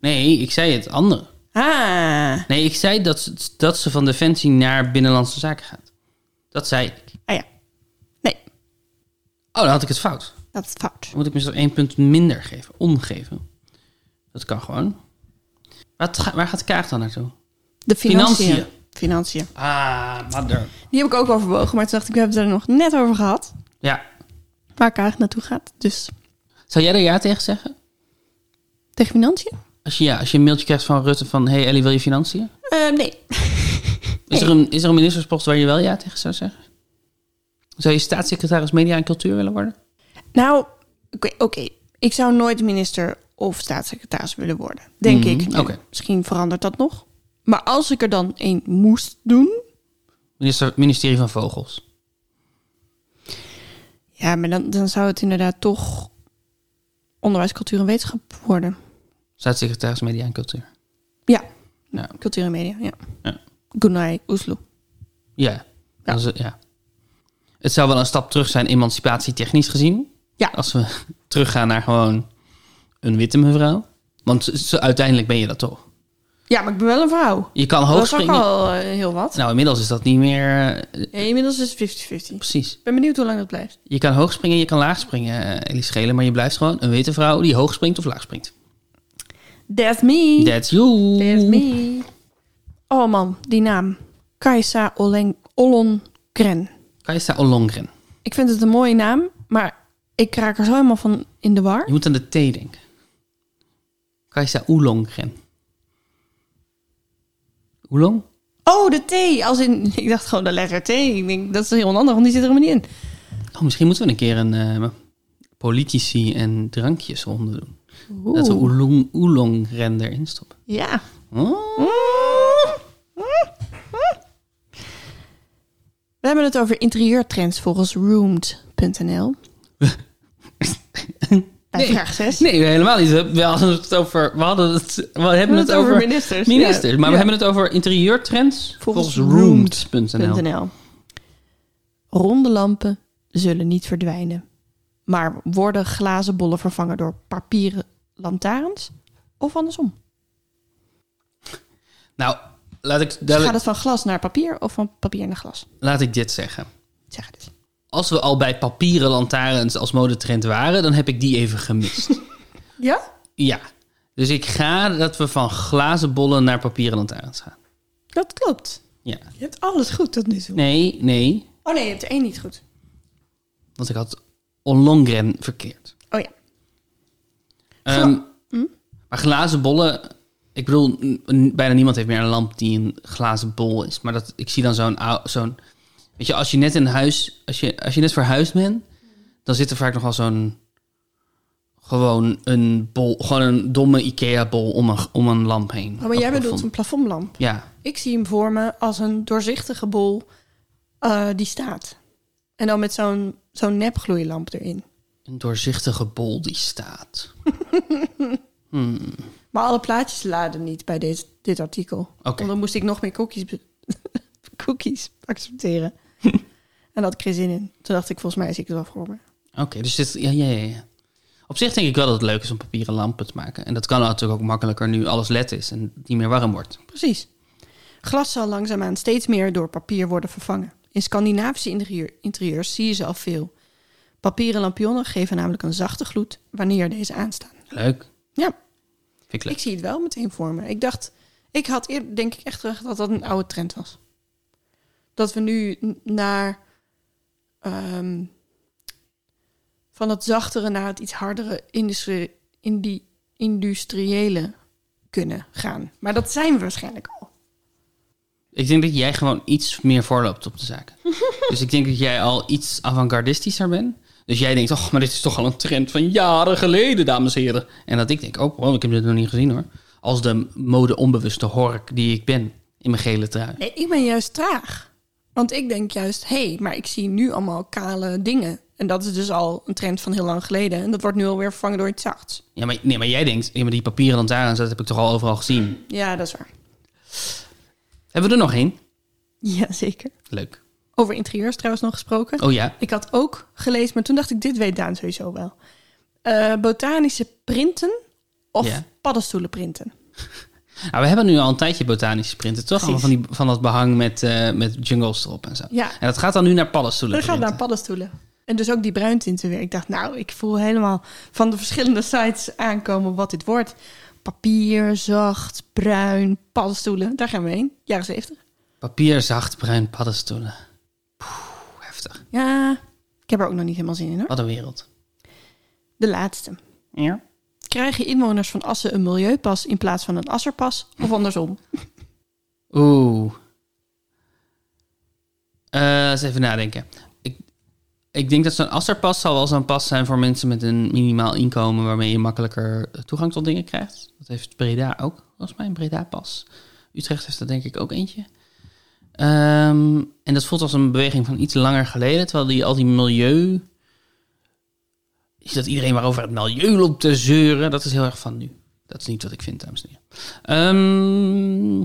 S1: Nee, ik zei het andere.
S2: Ah,
S1: Nee, ik zei dat ze, dat ze van Defensie naar Binnenlandse Zaken gaat. Dat zei ik.
S2: ah ja. Nee,
S1: Oh, dan had ik het fout.
S2: dat is fout.
S1: Dan moet ik mezelf één punt minder geven. Omgeven. Dat kan gewoon. Wat ga- waar gaat Kaag dan naartoe?
S2: De financiën.
S1: Financiën.
S2: financiën.
S1: Ah, mother.
S2: Die heb ik ook overwogen, maar toen dacht ik, we hebben het er nog net over gehad.
S1: Ja.
S2: Waar Kaag naartoe gaat. Dus
S1: Zou jij er ja tegen zeggen?
S2: tegen financiën?
S1: Als je, ja, als je een mailtje krijgt van Rutte van... Hey Ellie, wil je financiën?
S2: Eh, nee.
S1: Is, er een, is er een ministerspost waar je wel ja tegen zou zeggen? Zou je staatssecretaris Media en Cultuur willen worden?
S2: Nou, oké. oké. Ik zou nooit minister of staatssecretaris willen worden. Denk ik.
S1: Mhm,
S2: Nu.
S1: oké.
S2: Misschien verandert dat nog. Maar als ik er dan één moest doen.
S1: Minister, ministerie van Vogels.
S2: Ja, maar dan, dan zou het inderdaad toch onderwijs, cultuur en wetenschap worden.
S1: Staatssecretaris Media en Cultuur.
S2: Ja,
S1: Ja.
S2: cultuur en media. Ja.
S1: Ja.
S2: Gunay Oesloe.
S1: Ja.
S2: Ja.
S1: Als het- ja. Het zou wel een stap terug zijn, emancipatie technisch gezien.
S2: Ja.
S1: Als we teruggaan naar gewoon een witte mevrouw. Want ze- ze- uiteindelijk ben je dat toch.
S2: Ja, maar ik ben wel een vrouw.
S1: Je kan
S2: Dat
S1: hoog
S2: is ook
S1: springen.
S2: al eh, heel wat.
S1: Nou, inmiddels is dat niet meer... eh,
S2: Ja, inmiddels is het 50-50.
S1: precies.
S2: Ik ben benieuwd hoe lang dat blijft.
S1: Je kan hoog springen, je kan laag springen, eh, Ellie Schelen. Maar je blijft gewoon een witte vrouw die hoog springt of laag springt.
S2: That's me.
S1: That's you.
S2: That's me. Oh man, die naam. Kajsa Olen- Ollongren.
S1: Kajsa Ollongren.
S2: Ik vind het een mooie naam, maar ik raak er zo helemaal van in de war.
S1: Je moet aan de T denken. Kajsa Oolongren. Oolong?
S2: Oh, de T. Als in, ik dacht gewoon de letter T. Ik denk, dat is heel onhandig, want die zit er helemaal niet in.
S1: Oh, misschien moeten we een keer een eh, politici en drankjes ronde doen. Dat we oolong, oolongren erin stoppen.
S2: Ja.
S1: Oh.
S2: We hebben het over interieurtrends volgens Roomed.nl. bij
S1: Nee.
S2: vraag 6.
S1: Nee, helemaal niet. We hebben we hadden het over. We, hadden het, we hebben het, over
S2: ministers.
S1: ministers.
S2: Ja.
S1: Maar we
S2: Ja.
S1: hebben het over interieurtrends
S2: Volgens
S1: volgens, roomd.nl.
S2: NL. Ronde lampen zullen niet verdwijnen, maar worden glazen bollen vervangen door papieren lantaarns of andersom?
S1: Nou, laat ik,
S2: Dus
S1: duidelijk-
S2: gaat het van glas naar papier of van papier naar glas?
S1: laat ik dit zeggen.
S2: Zeg dit.
S1: Als we al bij papieren lantaarns als modetrend waren, dan heb ik die even gemist.
S2: Ja?
S1: ja. Dus ik ga dat we van glazen bollen naar papieren lantaarns gaan.
S2: Dat klopt.
S1: Ja.
S2: Je hebt alles goed tot nu toe.
S1: Nee, nee.
S2: Oh nee, je hebt er één niet goed.
S1: Want ik had Ollongren verkeerd.
S2: Oh ja.
S1: Ehm,
S2: Hm?
S1: Maar glazen bollen... Ik bedoel, n- n- bijna niemand heeft meer een lamp die een glazen bol is. Maar dat, ik zie dan zo'n... ou- zo'n weet je, als je net in huis... Als je, als je net verhuisd bent... Dan zit er vaak nog wel zo'n... Gewoon een bol... Gewoon een domme Ikea-bol om een, om een lamp heen.
S2: Oh, maar jij
S1: Op het
S2: bedoelt een
S1: plafond.
S2: plafondlamp.
S1: Ja,
S2: Ik zie hem voor me als een doorzichtige bol eh, die staat. En dan met zo'n zo'n nepgloeilamp erin.
S1: een doorzichtige bol die staat.
S2: Maar alle plaatjes laden niet bij dit, dit artikel. Want dan moest ik nog meer cookies, be- cookies accepteren. en daar had ik geen zin in. Toen dacht ik, volgens mij zie ik het wel voor me.
S1: Oké, dus dit... Ja, ja, ja, ja. Op zich denk ik wel dat het leuk is om papieren lampen te maken. En dat kan natuurlijk ook makkelijker nu alles led is en het niet meer warm wordt.
S2: Precies. Glas zal langzaamaan steeds meer door papier worden vervangen. In Scandinavische interieur, interieurs zie je ze al veel. Papieren lampionnen geven namelijk een zachte gloed wanneer deze aanstaan.
S1: Leuk.
S2: Ja,
S1: Vind ik leuk.
S2: ik zie het wel meteen voor me. Ik dacht, ik had eerder denk ik echt gedacht dat dat een oude trend was. Dat we nu n- naar ehm, van het zachtere naar het iets hardere industrie, indi- industriële kunnen gaan. Maar dat zijn we waarschijnlijk al.
S1: Ik denk dat jij gewoon iets meer voorloopt op de zaken. dus ik denk dat jij al iets avant-gardistischer bent. Dus jij denkt, oh, maar dit is toch al een trend van jaren geleden, dames en heren. En dat ik denk, oh, wow, ik heb dit nog niet gezien hoor. Als de mode-onbewuste hork die ik ben in mijn gele trui.
S2: Nee, ik ben juist traag. Want ik denk juist, hé, hey, maar ik zie nu allemaal kale dingen. En dat is dus al een trend van heel lang geleden. En dat wordt nu alweer vervangen door iets zachts.
S1: Ja, maar, nee, maar jij denkt, ja, maar die papieren lantaarns, dat heb ik toch al overal gezien.
S2: Ja, dat is waar.
S1: Hebben we er nog één?
S2: Jazeker.
S1: Leuk.
S2: Over interieurs trouwens nog gesproken.
S1: Oh ja,
S2: Ik had ook gelezen, maar toen dacht ik, dit weet Daan sowieso wel. Eh, botanische printen of
S1: Ja.
S2: paddenstoelen printen.
S1: Nou, we hebben nu al een tijdje botanische printen, toch?
S2: Precies.
S1: Allemaal van, die, van dat behang met, eh, met jungles erop en zo.
S2: Ja.
S1: En dat gaat dan nu naar paddenstoelen
S2: Dat gaat naar
S1: printen.
S2: paddenstoelen. En dus ook die bruintinten weer. Ik dacht, nou, ik voel helemaal van de verschillende sites aankomen wat dit wordt. Papier, zacht, bruin, paddenstoelen. Daar gaan we heen. Jaren zeventig.
S1: Papier, zacht, bruin, paddenstoelen. Poeh, heftig.
S2: Ja, ik heb er ook nog niet helemaal zin in hoor.
S1: Wat een wereld.
S2: De laatste.
S1: Ja.
S2: Krijgen inwoners van Assen een milieupas in plaats van een asserpas? Of andersom?
S1: Oeh. Eh, eens even nadenken. Ik, ik denk dat zo'n asserpas zal wel zo'n pas zijn voor mensen met een minimaal inkomen... waarmee je makkelijker eh, toegang tot dingen krijgt. Dat heeft Breda ook, volgens mij, een Breda-pas. Utrecht heeft er denk ik ook eentje. Ehm, en dat voelt als een beweging van iets langer geleden... terwijl die, al die milieu... Is dat iedereen maar over het milieu loopt te zeuren? Dat is heel erg van nu. Dat is niet wat ik vind, dames en heren. Ehm,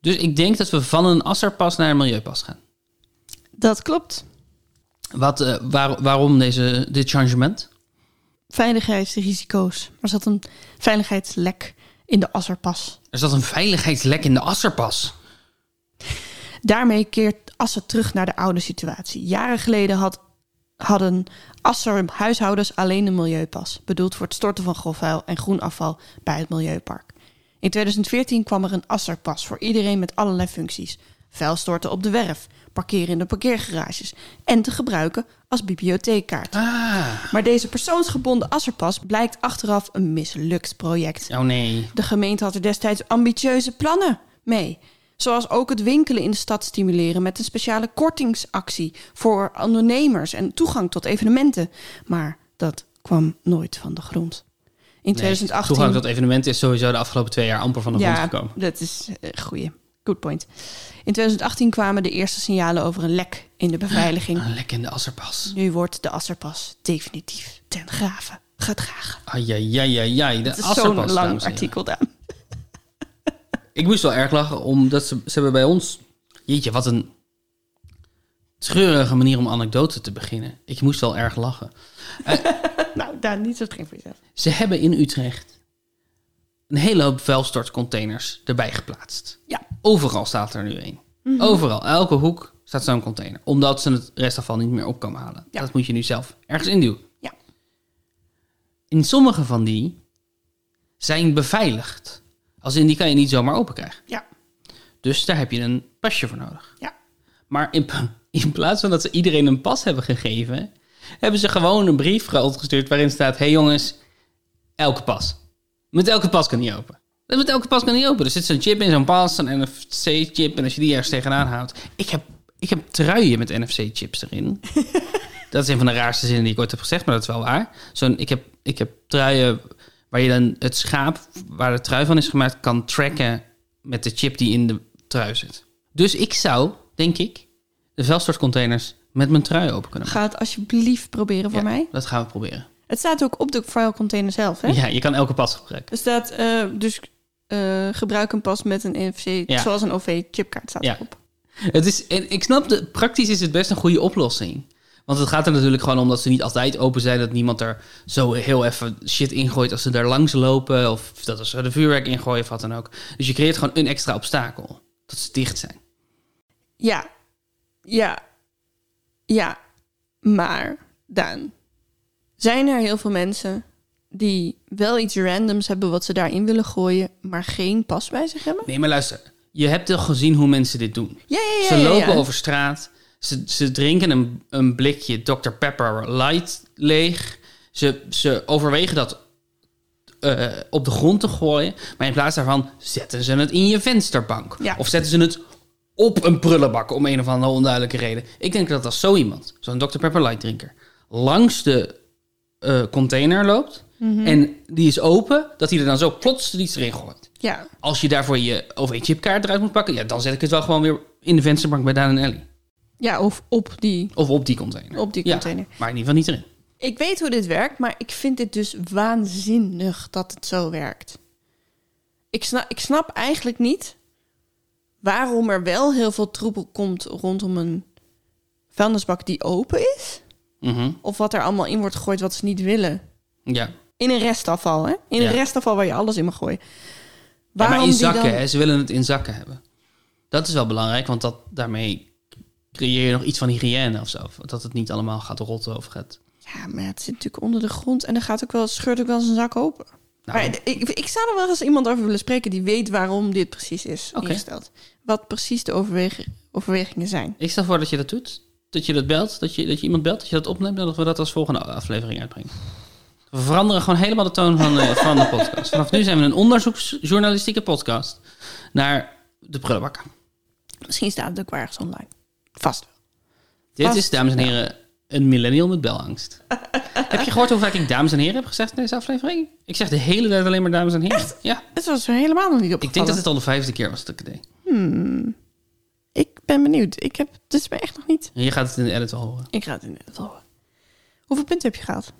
S1: dus ik denk dat we van een asserpas naar een milieupas gaan.
S2: Dat klopt.
S1: Wat, eh, waar- waarom deze, dit changement?
S2: Veiligheidsrisico's. Er zat een veiligheidslek in de asserpas.
S1: Er zat een veiligheidslek in de asserpas.
S2: Daarmee keert Assen terug naar de oude situatie. Jaren geleden had, hadden Asser huishoudens alleen een milieupas, bedoeld voor het storten van grofvuil en groen afval bij het milieupark. In 2014 kwam er een Asserpas voor iedereen met allerlei functies: vuil storten op de werf, parkeren in de parkeergarages en te gebruiken als bibliotheekkaart.
S1: Ah.
S2: Maar deze persoonsgebonden Asserpas blijkt achteraf een mislukt project.
S1: Oh nee.
S2: De gemeente had er destijds ambitieuze plannen mee. Zoals ook het winkelen in de stad stimuleren met een speciale kortingsactie voor ondernemers en toegang tot evenementen. Maar dat kwam nooit van de grond. In
S1: Nee,
S2: 2018.
S1: toegang tot evenementen is sowieso de afgelopen twee jaar amper van de grond
S2: ja,
S1: gekomen.
S2: dat is een goeie. Good point. In 2018 kwamen de eerste signalen over een
S1: Ah,
S2: lek in de beveiliging.
S1: Een lek in de asserpas.
S2: Nu wordt de Asserpas definitief ten graven gaat dragen.
S1: Ajajajajaj, de
S2: Het is zo'n
S1: asserpas, dames en
S2: lang
S1: heren.
S2: artikel, Daan.
S1: Ik moest wel erg lachen, omdat ze, ze hebben bij ons... Jeetje, wat een treurige manier om anekdote te beginnen. Ik moest wel erg lachen.
S2: Nou, Daan, niet zo streng voor jezelf.
S1: Ze hebben in Utrecht een hele hoop vuilstortcontainers erbij geplaatst.
S2: Ja.
S1: Overal staat er nu één.
S2: Mhm.
S1: Overal, elke hoek staat zo'n container. Omdat ze het restafval niet meer op kan halen.
S2: Ja.
S1: Dat moet je nu zelf ergens induwen.
S2: Ja.
S1: In sommige van die zijn beveiligd. Als in die kan je niet zomaar open krijgen.
S2: Ja.
S1: Dus daar heb je een pasje voor nodig.
S2: Ja.
S1: Maar in, pla- in plaats van dat ze iedereen een pas hebben gegeven, hebben ze gewoon een brief gestuurd waarin staat: hey jongens, elke pas. Met elke pas kan niet open. Dus Met elke pas kan niet open. Er zit zo'n chip in, zo'n pas, een NFC-chip. En als je die ergens tegenaan houdt. Ik heb, ik heb truien met NFC-chips erin. dat is een van de raarste zinnen die ik ooit heb gezegd, maar dat is wel waar. Zo'n, ik, heb, ik heb truien waar je dan het schaap waar de trui van is gemaakt kan tracken met de chip die in de trui zit. Dus ik zou, denk ik, de vuilstortcontainers met mijn trui open kunnen maken.
S2: Ga het alsjeblieft proberen voor
S1: Ja,
S2: mij.
S1: Dat gaan we proberen.
S2: Het staat ook op de filecontainer zelf, hè?
S1: Ja, je kan elke pas gebruiken.
S2: Er staat eh, dus eh, gebruik een pas met een NFC,
S1: Ja.
S2: zoals een OV-chipkaart staat
S1: Ja.
S2: erop.
S1: Het is, en ik snap, de, praktisch is het best een goede oplossing. Want het gaat er natuurlijk gewoon om dat ze niet altijd open zijn. Dat niemand er zo heel even shit ingooit als ze daar langs lopen. Of dat als ze de vuurwerk ingooien of wat dan ook. Dus je creëert gewoon een extra obstakel. Dat ze dicht zijn.
S2: Ja, ja, ja. Maar, Daan, zijn er heel veel mensen die wel iets randoms hebben wat ze daarin willen gooien, maar geen pas bij zich hebben?
S1: Nee, maar luister. Je hebt toch gezien hoe mensen dit doen?
S2: Ja, ja, ja.
S1: Ze
S2: ja,
S1: lopen
S2: ja.
S1: over straat. Ze, ze drinken een, een blikje Dr. Pepper Light leeg. Ze, ze overwegen dat eh, op de grond te gooien. Maar in plaats daarvan zetten ze het in je vensterbank.
S2: Ja.
S1: Of zetten ze het op een prullenbak om een of andere onduidelijke reden. Ik denk dat als zo iemand, zo'n Dr. Pepper Light drinker, langs de eh, container loopt.
S2: Mhm.
S1: En die is open, dat hij er dan zo plots iets erin gooit.
S2: Ja,
S1: Als je daarvoor je OV-chipkaart eruit moet pakken, ja, dan zet ik het wel gewoon weer in de vensterbank bij Daan en Ellie.
S2: ja, of op die.
S1: Of op die container.
S2: Op die
S1: Ja,
S2: container.
S1: maar in ieder geval niet erin.
S2: Ik weet hoe dit werkt, maar ik vind dit dus waanzinnig dat het zo werkt. Ik snap, ik snap eigenlijk niet waarom er wel heel veel troepel komt rondom een vuilnisbak die open is.
S1: Mhm,
S2: Of wat er allemaal in wordt gegooid wat ze niet willen.
S1: Ja.
S2: In een restafval, hè? In
S1: Ja.
S2: een restafval waar je alles in mag gooien.
S1: Ja,
S2: Waarom
S1: maar in
S2: die
S1: zakken,
S2: dan-
S1: hè, ze willen het in zakken hebben. Dat is wel belangrijk, want dat, daarmee creëer je nog iets van hygiëne of zo. Dat het niet allemaal gaat rotten of gaat...
S2: Ja, maar het zit natuurlijk onder de grond en dan gaat ook wel, scheurt ook wel eens een zak open.
S1: Nou,
S2: maar ik, ik zou er wel eens iemand over willen spreken die weet waarom dit precies is
S1: Oké.
S2: ingesteld. Wat precies de overweg- overwegingen zijn.
S1: Ik stel voor dat je dat doet. Dat je dat belt, dat je, dat je iemand belt, dat je dat opneemt... en dat we dat als volgende aflevering uitbrengen. We veranderen gewoon helemaal de toon van, eh, van de podcast. Vanaf nu zijn we een onderzoeksjournalistieke podcast... naar de prullenbakken.
S2: Misschien staat het ook wel ergens online. Vast wel.
S1: Dit
S2: Vast.
S1: is, dames en heren, een millennial met belangst. heb je gehoord hoe vaak ik dames en heren heb gezegd in deze aflevering? Ik zeg de hele tijd alleen maar dames en heren. Ja,
S2: Het was er helemaal nog niet opgevallen.
S1: ik denk dat het al de vijfde keer was dat ik het deed.
S2: Ik ben benieuwd. Ik heb het is me echt nog niet.
S1: En je gaat het in de edit wel horen.
S2: Ik ga het in het horen. Hoeveel punten heb je gehaald?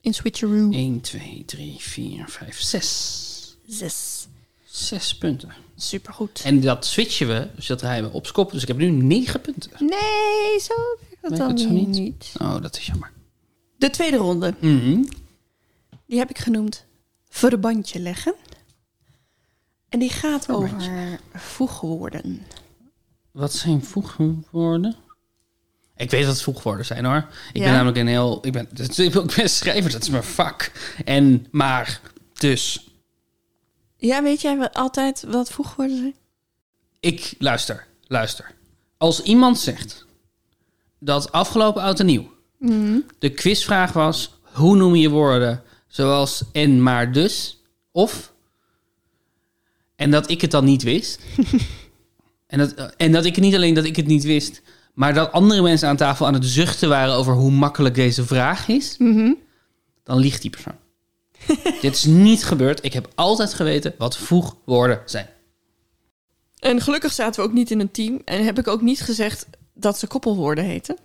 S2: In Switcheroo.
S1: 1, 2, 3, 4, 5, 6.
S2: Zes.
S1: 6 punten.
S2: Supergoed.
S1: En dat switchen we, dus dat rijden we op skop. Dus ik heb nu 9 punten.
S2: Nee, zo werkt dat
S1: Werkt
S2: dan
S1: het zo
S2: weer
S1: niet?
S2: niet.
S1: Oh, dat is jammer.
S2: De tweede ronde.
S1: Mhm.
S2: Die heb ik genoemd verbandje leggen. En die gaat over voegwoorden.
S1: Wat zijn voegwoorden? Ik weet wat voegwoorden zijn hoor. Ik
S2: Ja?
S1: ben namelijk een heel. Ik ben, ik ben schrijver, dat is mijn vak. En maar, dus.
S2: Ja, weet jij wel altijd wat voegwoorden zijn?
S1: Ik luister, luister. Als iemand zegt dat afgelopen oud en nieuw de quizvraag was: hoe noem je woorden zoals en maar dus of en dat ik het dan niet wist. en, dat, en dat ik niet alleen dat ik het niet wist, maar dat andere mensen aan tafel aan het zuchten waren over hoe makkelijk deze vraag is, dan liegt die persoon. Dit is niet gebeurd. Ik heb altijd geweten wat voegwoorden zijn.
S2: En gelukkig zaten we ook niet in een team. En heb ik ook niet gezegd dat ze koppelwoorden heten.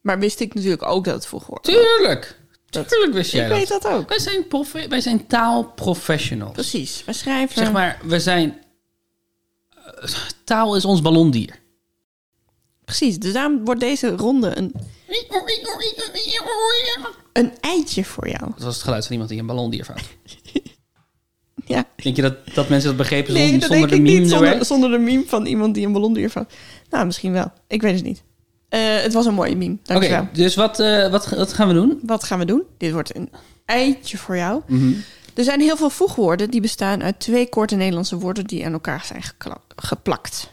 S2: Maar wist ik natuurlijk ook dat het voegwoorden
S1: Tuurlijk.
S2: Dat,
S1: Tuurlijk wist jij
S2: ik
S1: dat.
S2: weet dat ook.
S1: Wij zijn, profe- wij zijn taalprofessionals.
S2: Precies. We schrijven.
S1: Zeg maar, we zijn... eh, taal is ons ballondier.
S2: Precies. Dus daarom wordt deze ronde een, een eitje voor jou.
S1: Dat was het geluid van iemand die een ballondier fout.
S2: Ja.
S1: Denk je dat, dat mensen dat begrepen
S2: Nee,
S1: zonder,
S2: dat
S1: zonder
S2: denk
S1: de
S2: ik
S1: meme
S2: niet.
S1: erbij?
S2: Zonder, zonder de meme van iemand die een ballon duurt. Nou, misschien wel. Ik weet het niet. Eh, het was een mooie meme.
S1: Oké,
S2: Dankjewel.
S1: dus wat, eh, wat, wat gaan we doen?
S2: Wat gaan we doen? Dit wordt een eitje voor jou. Er zijn heel veel voegwoorden die bestaan uit twee korte Nederlandse woorden die aan elkaar zijn gekla- geplakt.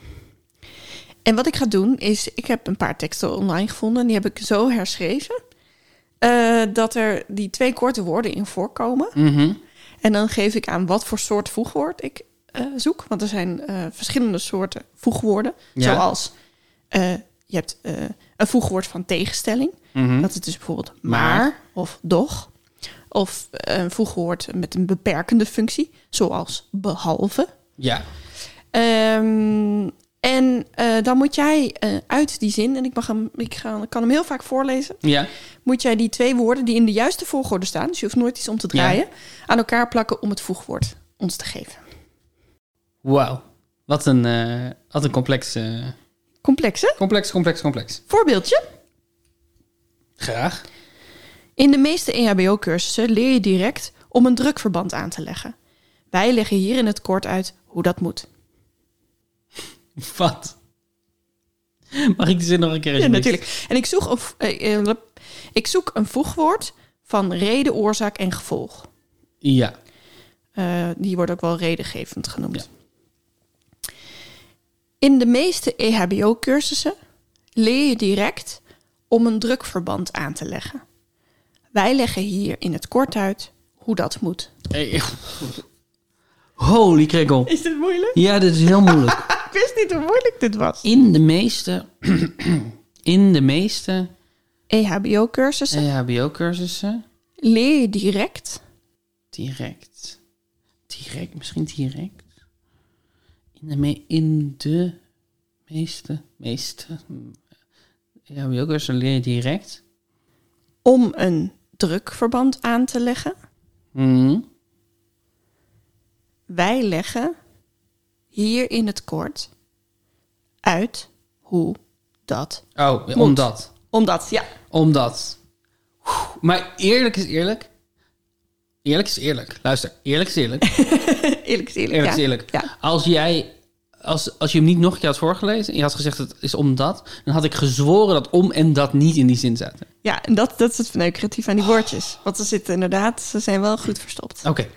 S2: En wat ik ga doen is, ik heb een paar teksten online gevonden. en Die heb ik zo herschreven. eh, dat er die twee korte woorden in voorkomen.
S1: Mhm.
S2: En dan geef ik aan wat voor soort voegwoord ik eh, zoek. Want er zijn eh, verschillende soorten voegwoorden.
S1: Ja.
S2: Zoals eh, je hebt eh, een voegwoord van tegenstelling.
S1: Mhm.
S2: Dat is dus bijvoorbeeld
S1: Maar.
S2: maar, of doch. Of eh, een voegwoord met een beperkende functie. Zoals behalve.
S1: Ja,
S2: Ehm, en eh, dan moet jij eh, uit die zin, en ik, mag hem, ik ga, kan hem heel vaak voorlezen
S1: ja.
S2: moet jij die twee woorden die in de juiste volgorde staan, dus je hoeft nooit iets om te draaien, aan elkaar plakken om het voegwoord ons te geven.
S1: Wauw. Wat een, eh, wat een complex, eh,
S2: Complex, hè?
S1: complex, complex, complex.
S2: Voorbeeldje.
S1: Graag.
S2: In de meeste E EHBO-cursussen leer je direct om een drukverband aan te leggen. Wij leggen hier in het kort uit hoe dat moet.
S1: Wat? Mag ik die zin nog een keer
S2: Ja,
S1: alsjeblieft?
S2: natuurlijk. En ik zoek, een, v- eh, eh, lap- ik zoek een voegwoord van reden, oorzaak en gevolg.
S1: Ja.
S2: Eh, die wordt ook wel redengevend genoemd.
S1: Ja.
S2: In de meeste E EHBO-cursussen leer je direct om een drukverband aan te leggen. Wij leggen hier in het kort uit hoe dat moet.
S1: Hey. Holy krekkel.
S2: Is dit moeilijk?
S1: Ja, dit is heel moeilijk.
S2: Ik wist niet hoe moeilijk dit was.
S1: In de meeste... In de meeste
S2: E EHBO-cursussen
S1: EHBO-cursussen...
S2: leer je direct
S1: Direct. Direct, misschien direct. In de, me- in de meeste... Meeste... mm, EHBO-cursussen leer je direct.
S2: om een drukverband aan te leggen.
S1: Mhm.
S2: Wij leggen hier in het kort uit hoe dat
S1: Oh,
S2: Moet.
S1: omdat.
S2: Omdat, ja.
S1: Omdat. Oeh, Maar eerlijk is eerlijk. Eerlijk is eerlijk. Luister, eerlijk is eerlijk.
S2: Eerlijk is eerlijk.
S1: Eerlijk
S2: ja.
S1: is eerlijk.
S2: Ja.
S1: Als jij. Als, als je hem niet nog een keer had voorgelezen en je had gezegd het is omdat, dan had ik gezworen dat om en dat niet in die zin zaten.
S2: ja, en dat, dat is het verneukeratief aan die
S1: Oh.
S2: woordjes. Want ze zitten inderdaad, ze zijn wel goed verstopt.
S1: Oké.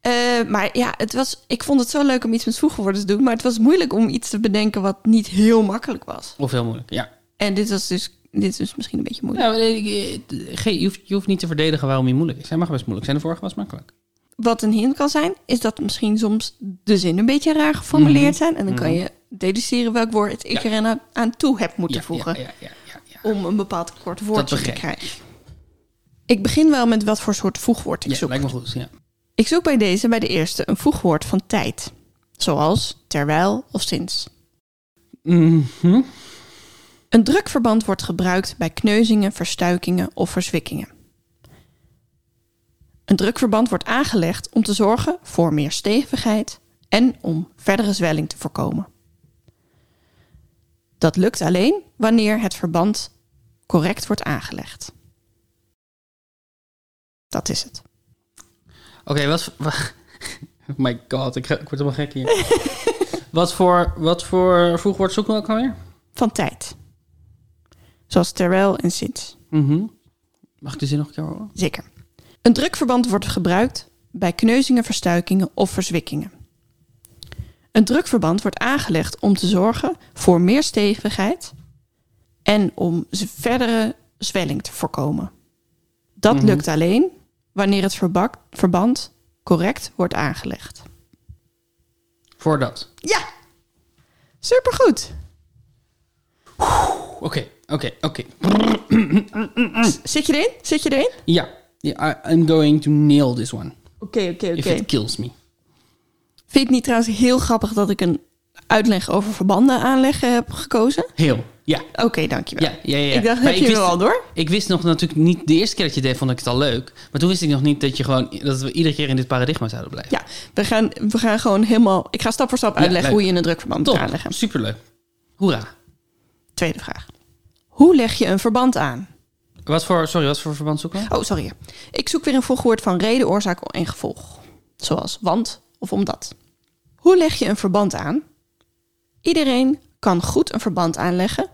S2: Eh, maar ja, het was, ik vond het zo leuk om iets met voegwoorden te doen. Maar het was moeilijk om iets te bedenken wat niet heel makkelijk was.
S1: Of heel moeilijk. Ja.
S2: En dit was dus, dit is dus misschien een beetje moeilijk.
S1: Nou, eh, eh, ge- je, hoeft, je hoeft niet te verdedigen waarom hij moeilijk is. Hij mag best moeilijk zijn. De vorige was makkelijk.
S2: Wat een hint kan zijn, is dat misschien soms de zinnen een beetje raar geformuleerd zijn. En dan kan je deduceren welk woord ik
S1: Mhm. Ja.
S2: er aan, aan toe heb moeten
S1: ja,
S2: voegen.
S1: Ja, ja, ja, ja, ja.
S2: Om een bepaald kort woordje te
S1: begrijp ik.
S2: krijgen. Ik begin wel met wat voor soort voegwoord ik
S1: Ja,
S2: zoek.
S1: lijkt me goed. Ja.
S2: Ik zoek bij deze bij de eerste een voegwoord van tijd. Zoals terwijl of sinds.
S1: Mhm.
S2: Een drukverband wordt gebruikt bij kneuzingen, verstuikingen of verzwikkingen. Een drukverband wordt aangelegd om te zorgen voor meer stevigheid en om verdere zwelling te voorkomen. Dat lukt alleen wanneer het verband correct wordt aangelegd. Dat is het.
S1: Oké, wat voor... wa- My god, ik, ga- ik word helemaal gek hier. wat, voor, wat voor voegwoord zoeken we ook alweer?
S2: Van tijd. Zoals terwijl en sinds.
S1: Mhm. Mag ik de zin nog een keer horen?
S2: Zeker. Een drukverband wordt gebruikt bij kneuzingen, verstuikingen of verzwikkingen. Een drukverband wordt aangelegd om te zorgen voor meer stevigheid en om z- verdere zwelling te voorkomen. Dat
S1: Mhm.
S2: lukt alleen wanneer het verbak- verband correct wordt aangelegd.
S1: Voor dat.
S2: Ja, supergoed.
S1: Oké, oké, oké.
S2: Zit je erin? Zit je erin?
S1: Ja, ja, I- I'm going to nail this one.
S2: Oké, oké,
S1: If it kills me.
S2: Vind je het niet trouwens heel grappig dat ik een uitleg over verbanden aanleggen heb gekozen?
S1: Heel. Ja.
S2: Oké, dankjewel.
S1: Ja, ja, ja.
S2: Ik dacht,
S1: Maar
S2: heb je
S1: wist-
S2: er al door?
S1: Ik wist nog natuurlijk niet, de eerste keer dat je het deed, vond ik het al leuk. Maar toen wist ik nog niet dat, je gewoon, dat we iedere keer in dit paradigma zouden blijven.
S2: Ja, we gaan, we gaan gewoon helemaal... Ik ga stap voor stap uitleggen
S1: leuk.
S2: hoe je een drukverband moet
S1: Top,
S2: aanleggen.
S1: superleuk. Hoera.
S2: Tweede vraag. Hoe leg je een verband aan?
S1: Wat voor, sorry, wat voor verband zoeken we?
S2: Oh, sorry. Ik zoek weer een volgwoord van reden, oorzaak en gevolg. Zoals want of omdat. Hoe leg je een verband aan? Iedereen kan goed een verband aanleggen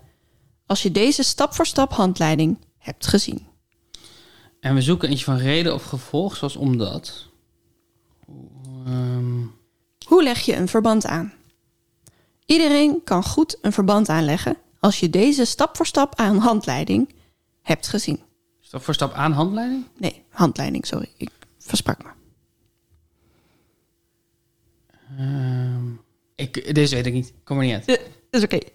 S2: als je deze stap voor stap handleiding hebt gezien.
S1: En we zoeken eentje van reden of gevolg, zoals omdat. Ehm,
S2: Hoe leg je een verband aan? Iedereen kan goed een verband aanleggen als je deze stap voor stap aan handleiding hebt gezien.
S1: stap voor stap aan handleiding?
S2: Nee, handleiding, sorry. Ik versprak me.
S1: Ehm, ik, deze weet ik niet. Kom er niet uit.
S2: Eh, Dat is oké.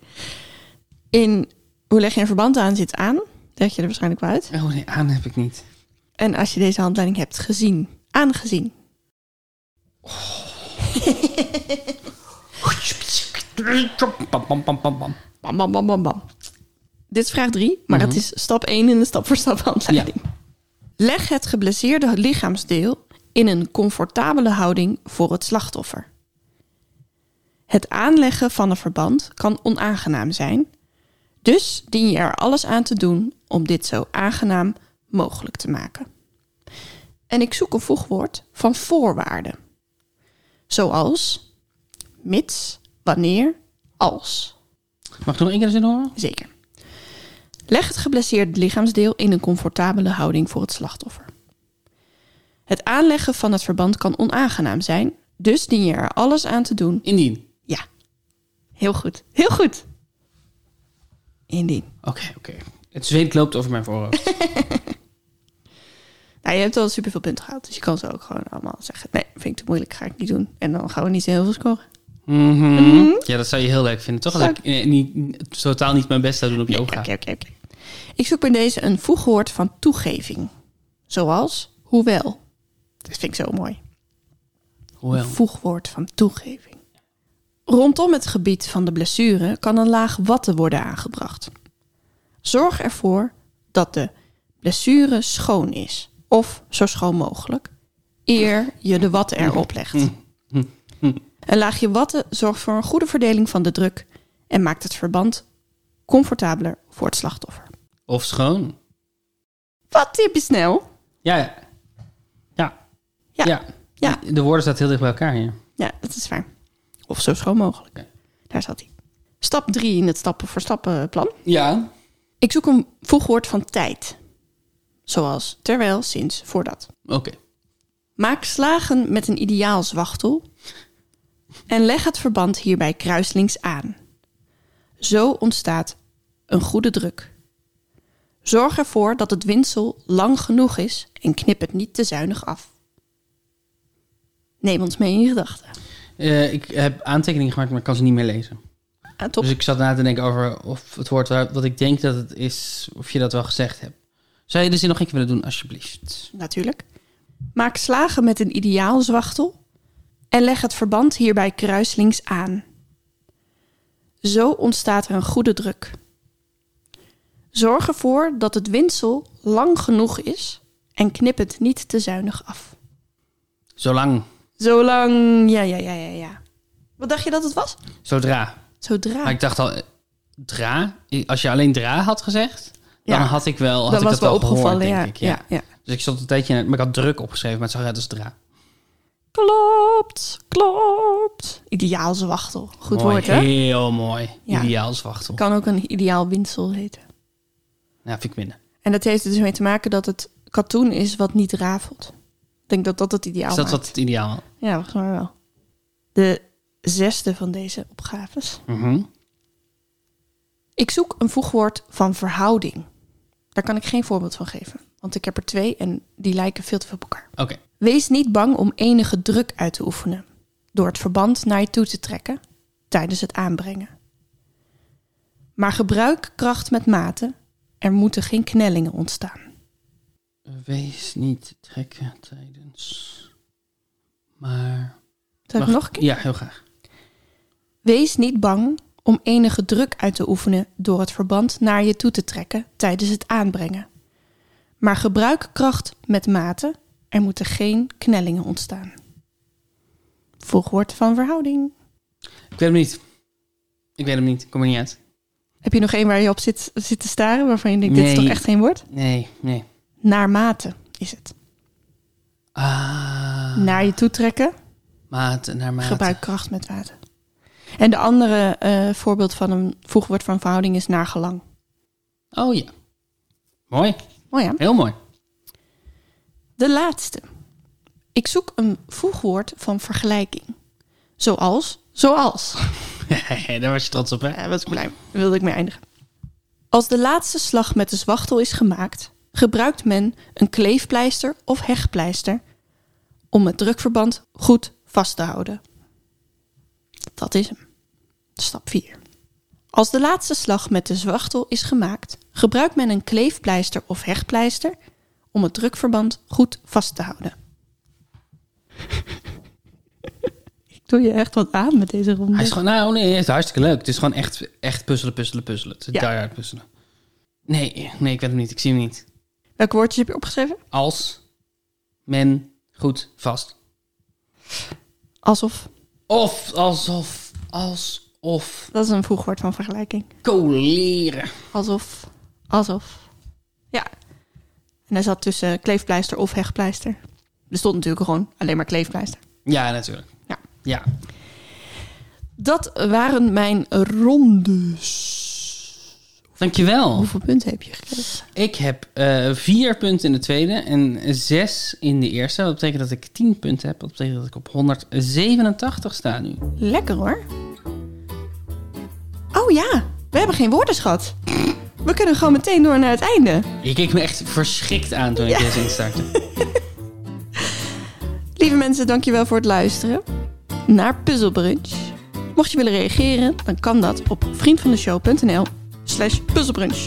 S2: In hoe leg je een verband aan zit aan. Leg je er waarschijnlijk wel uit.
S1: Oh nee, aan heb ik niet.
S2: En als je deze handleiding hebt gezien, aangezien.
S1: Pam, pam, pam, pam, pam.
S2: Bam, bam, bam, bam, bam. Dit is vraag 3, maar het is stap 1 in de stap voor stap handleiding. Leg het geblesseerde lichaamsdeel in een comfortabele houding voor het slachtoffer. Het aanleggen van een verband kan onaangenaam zijn, dus dien je er alles aan te doen om dit zo aangenaam mogelijk te maken. En ik zoek een voegwoord van voorwaarden, zoals mits, wanneer, als.
S1: Mag ik nog één keer de zin horen?
S2: Zeker. Leg het geblesseerde lichaamsdeel in een comfortabele houding voor het slachtoffer. Het aanleggen van het verband kan onaangenaam zijn, dus dien je er alles aan te doen.
S1: Indien.
S2: Ja, heel goed. Heel goed. Indien.
S1: Oké, oké. Het zweet loopt over mijn voorhoofd.
S2: Nou, je hebt al superveel punten gehaald, dus je kan ze ook gewoon allemaal zeggen. Nee, vind ik te moeilijk, ga ik niet doen. En dan gaan we niet zo heel veel scoren.
S1: Mhm. Ja, dat zou je heel leuk vinden. Toch dat
S2: Zou
S1: ik eh, niet, totaal niet mijn best zou doen op
S2: Nee,
S1: yoga.
S2: Oké, oké, oké. Ik zoek bij deze een voegwoord van toegeving. Zoals hoewel. Dat vind ik zo mooi.
S1: Hoewel.
S2: Een voegwoord van toegeving. Rondom het gebied van de blessure kan een laag watten worden aangebracht. Zorg ervoor dat de blessure schoon is, of zo schoon mogelijk, eer je de watten erop legt. Mm-hmm. Een laagje watten zorgt voor een goede verdeling van de druk en maakt het verband comfortabeler voor het slachtoffer.
S1: Of schoon.
S2: Wat typisch snel.
S1: Ja, ja. Ja.
S2: Ja. Ja.
S1: De woorden staan heel dicht bij elkaar hier.
S2: Ja, dat is waar. Of zo schoon mogelijk.
S1: Oké.
S2: Daar zat hij. Stap 3 in het stappen voor stappen plan.
S1: Ja.
S2: Ik zoek een voegwoord van tijd. Zoals terwijl, sinds, voordat.
S1: Oké.
S2: Maak slagen met een ideaal zwachtel en leg het verband hierbij kruislings aan. Zo ontstaat een goede druk. Zorg ervoor dat het windsel lang genoeg is en knip het niet te zuinig af. Neem ons mee in je gedachten.
S1: Eh, ik heb aantekeningen gemaakt, maar ik kan ze niet meer lezen.
S2: Ah, top.
S1: Dus ik zat na te denken over of het woord waar- wat ik denk dat het is, of je dat wel gezegd hebt. Zou je de zin nog een keer willen doen, alsjeblieft?
S2: natuurlijk. Maak slagen met een ideaal zwachtel en leg het verband hierbij kruislings aan. Zo ontstaat er een goede druk. Zorg ervoor dat het windsel lang genoeg is en knip het niet te zuinig af.
S1: Zolang.
S2: Zolang, ja, ja, ja, ja, ja. Wat dacht je dat het was?
S1: Zodra.
S2: Zodra.
S1: Maar ik dacht al, eh, dra? Als je alleen dra had gezegd, dan
S2: Ja.
S1: had ik wel, had
S2: dat
S1: ik
S2: was
S1: dat wel
S2: wel opgevallen,
S1: gehoord,
S2: ja,
S1: denk ik. Ja.
S2: ja, ja.
S1: Dus ik stond een tijdje, in het- maar ik had druk opgeschreven, maar het zag uit als dra.
S2: Klopt, klopt. Ideaal zwachtel. Goed
S1: mooi,
S2: woord, hè?
S1: Heel mooi.
S2: Ja.
S1: Ideaal zwachtel.
S2: Kan ook een ideaal windsel heten.
S1: Ja, vind ik minder.
S2: En dat heeft er dus mee te maken dat het katoen is wat niet rafelt. Ik denk dat dat het ideaal
S1: Is
S2: is.
S1: dat wat het ideaal?
S2: Ja, volgens mij wel. De zesde van deze opgaves.
S1: Mhm.
S2: Ik zoek een voegwoord van verhouding. Daar kan ik geen voorbeeld van geven. Want ik heb er twee en die lijken veel te veel op elkaar.
S1: Oké.
S2: Wees niet bang om enige druk uit te oefenen. Door het verband naar je toe te trekken tijdens het aanbrengen. Maar gebruik kracht met mate. Er moeten geen knellingen ontstaan.
S1: Wees niet trekken tijdens. Maar.
S2: Zal ik
S1: Mag-
S2: nog een keer?
S1: Ja, heel graag.
S2: Wees niet bang om enige druk uit te oefenen door het verband naar je toe te trekken tijdens het aanbrengen. Maar gebruik kracht met mate, er moeten geen knellingen ontstaan. Volgwoord van verhouding.
S1: Ik weet hem niet. Ik weet hem niet. Ik kom er niet uit.
S2: Heb je nog één waar je op zit, zit te staren waarvan je denkt, dit is
S1: Nee.
S2: toch echt geen woord?
S1: Nee, nee.
S2: Naarmate is het.
S1: Ah,
S2: Naar je toe trekken,
S1: maat naar maat.
S2: gebruik kracht met water. En de andere eh, voorbeeld van een voegwoord van verhouding is naar gelang.
S1: Oh ja. Mooi.
S2: Oh ja.
S1: Heel mooi.
S2: De laatste. Ik zoek een voegwoord van vergelijking. Zoals, zoals.
S1: Daar was je trots op, hè?
S2: Ja, was ik blij. Daar Eh, wilde ik mee eindigen. Als de laatste slag met de zwachtel is gemaakt, gebruikt men een kleefpleister of hechtpleister om het drukverband goed vast te houden. Dat is hem. Stap 4. Als de laatste slag met de zwachtel is gemaakt, gebruikt men een kleefpleister of hechtpleister om het drukverband goed vast te houden. Ik doe je echt wat aan met deze ronde.
S1: Hij is gewoon, nou nee, het is hartstikke leuk. Het is gewoon echt, echt puzzelen, puzzelen, puzzelen. Het is
S2: Ja.
S1: diehard puzzelen. Nee, nee, ik weet hem niet. Ik zie hem niet.
S2: Welke woordjes heb je opgeschreven?
S1: Als men goed vast.
S2: Alsof.
S1: Of, alsof, alsof,
S2: Dat is een voegwoord van vergelijking.
S1: koleren.
S2: Alsof. Alsof. Ja. En hij zat tussen kleefpleister of hechtpleister. Er stond natuurlijk gewoon alleen maar kleefpleister.
S1: Ja, natuurlijk.
S2: Ja.
S1: Ja.
S2: Dat waren mijn rondes.
S1: Dankjewel.
S2: Hoeveel punten heb je gekregen?
S1: Ik heb eh, vier punten in de tweede en zes in de eerste. Dat betekent dat ik tien punten heb. Dat betekent dat ik op 187 sta nu.
S2: Lekker hoor. Oh ja, we hebben geen woordenschat. We kunnen gewoon meteen door naar het einde.
S1: Je keek me echt verschrikt aan toen ik deze instartte.
S2: Lieve mensen, dankjewel voor het luisteren naar Puzzle Brunch. Mocht je willen reageren, dan kan dat op vriendvandeshow.nl slash puzzelbrunch.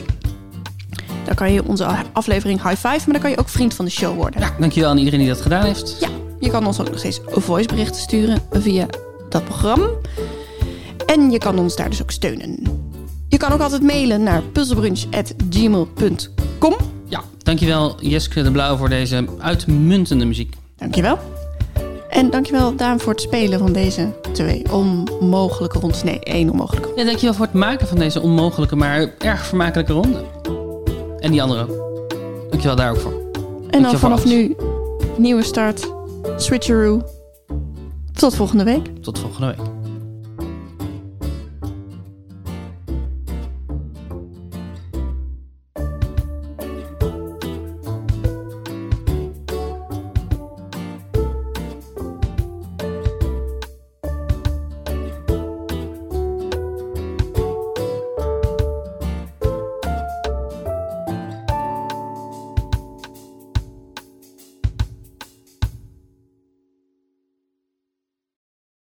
S2: Daar kan je onze aflevering high five, maar dan kan je ook vriend van de show worden.
S1: Ja, dankjewel aan iedereen die dat gedaan heeft.
S2: Ja, je kan ons ook nog steeds voiceberichten sturen via dat programma. En je kan ons daar dus ook steunen. Je kan ook altijd mailen naar puzzelbrunch.gmail.com.
S1: Ja, dankjewel Jeske de Blauw voor deze uitmuntende muziek.
S2: Dankjewel. En dankjewel Daan voor het spelen van deze twee onmogelijke rondes. Nee, één onmogelijke ronde.
S1: Ja, dankjewel voor het maken van deze onmogelijke, maar erg vermakelijke ronde. En die andere ook. Dankjewel daar ook voor.
S2: En dan
S1: voor
S2: vanaf
S1: alles.
S2: nu, nieuwe start, switcheroo. Tot volgende week.
S1: Tot volgende week.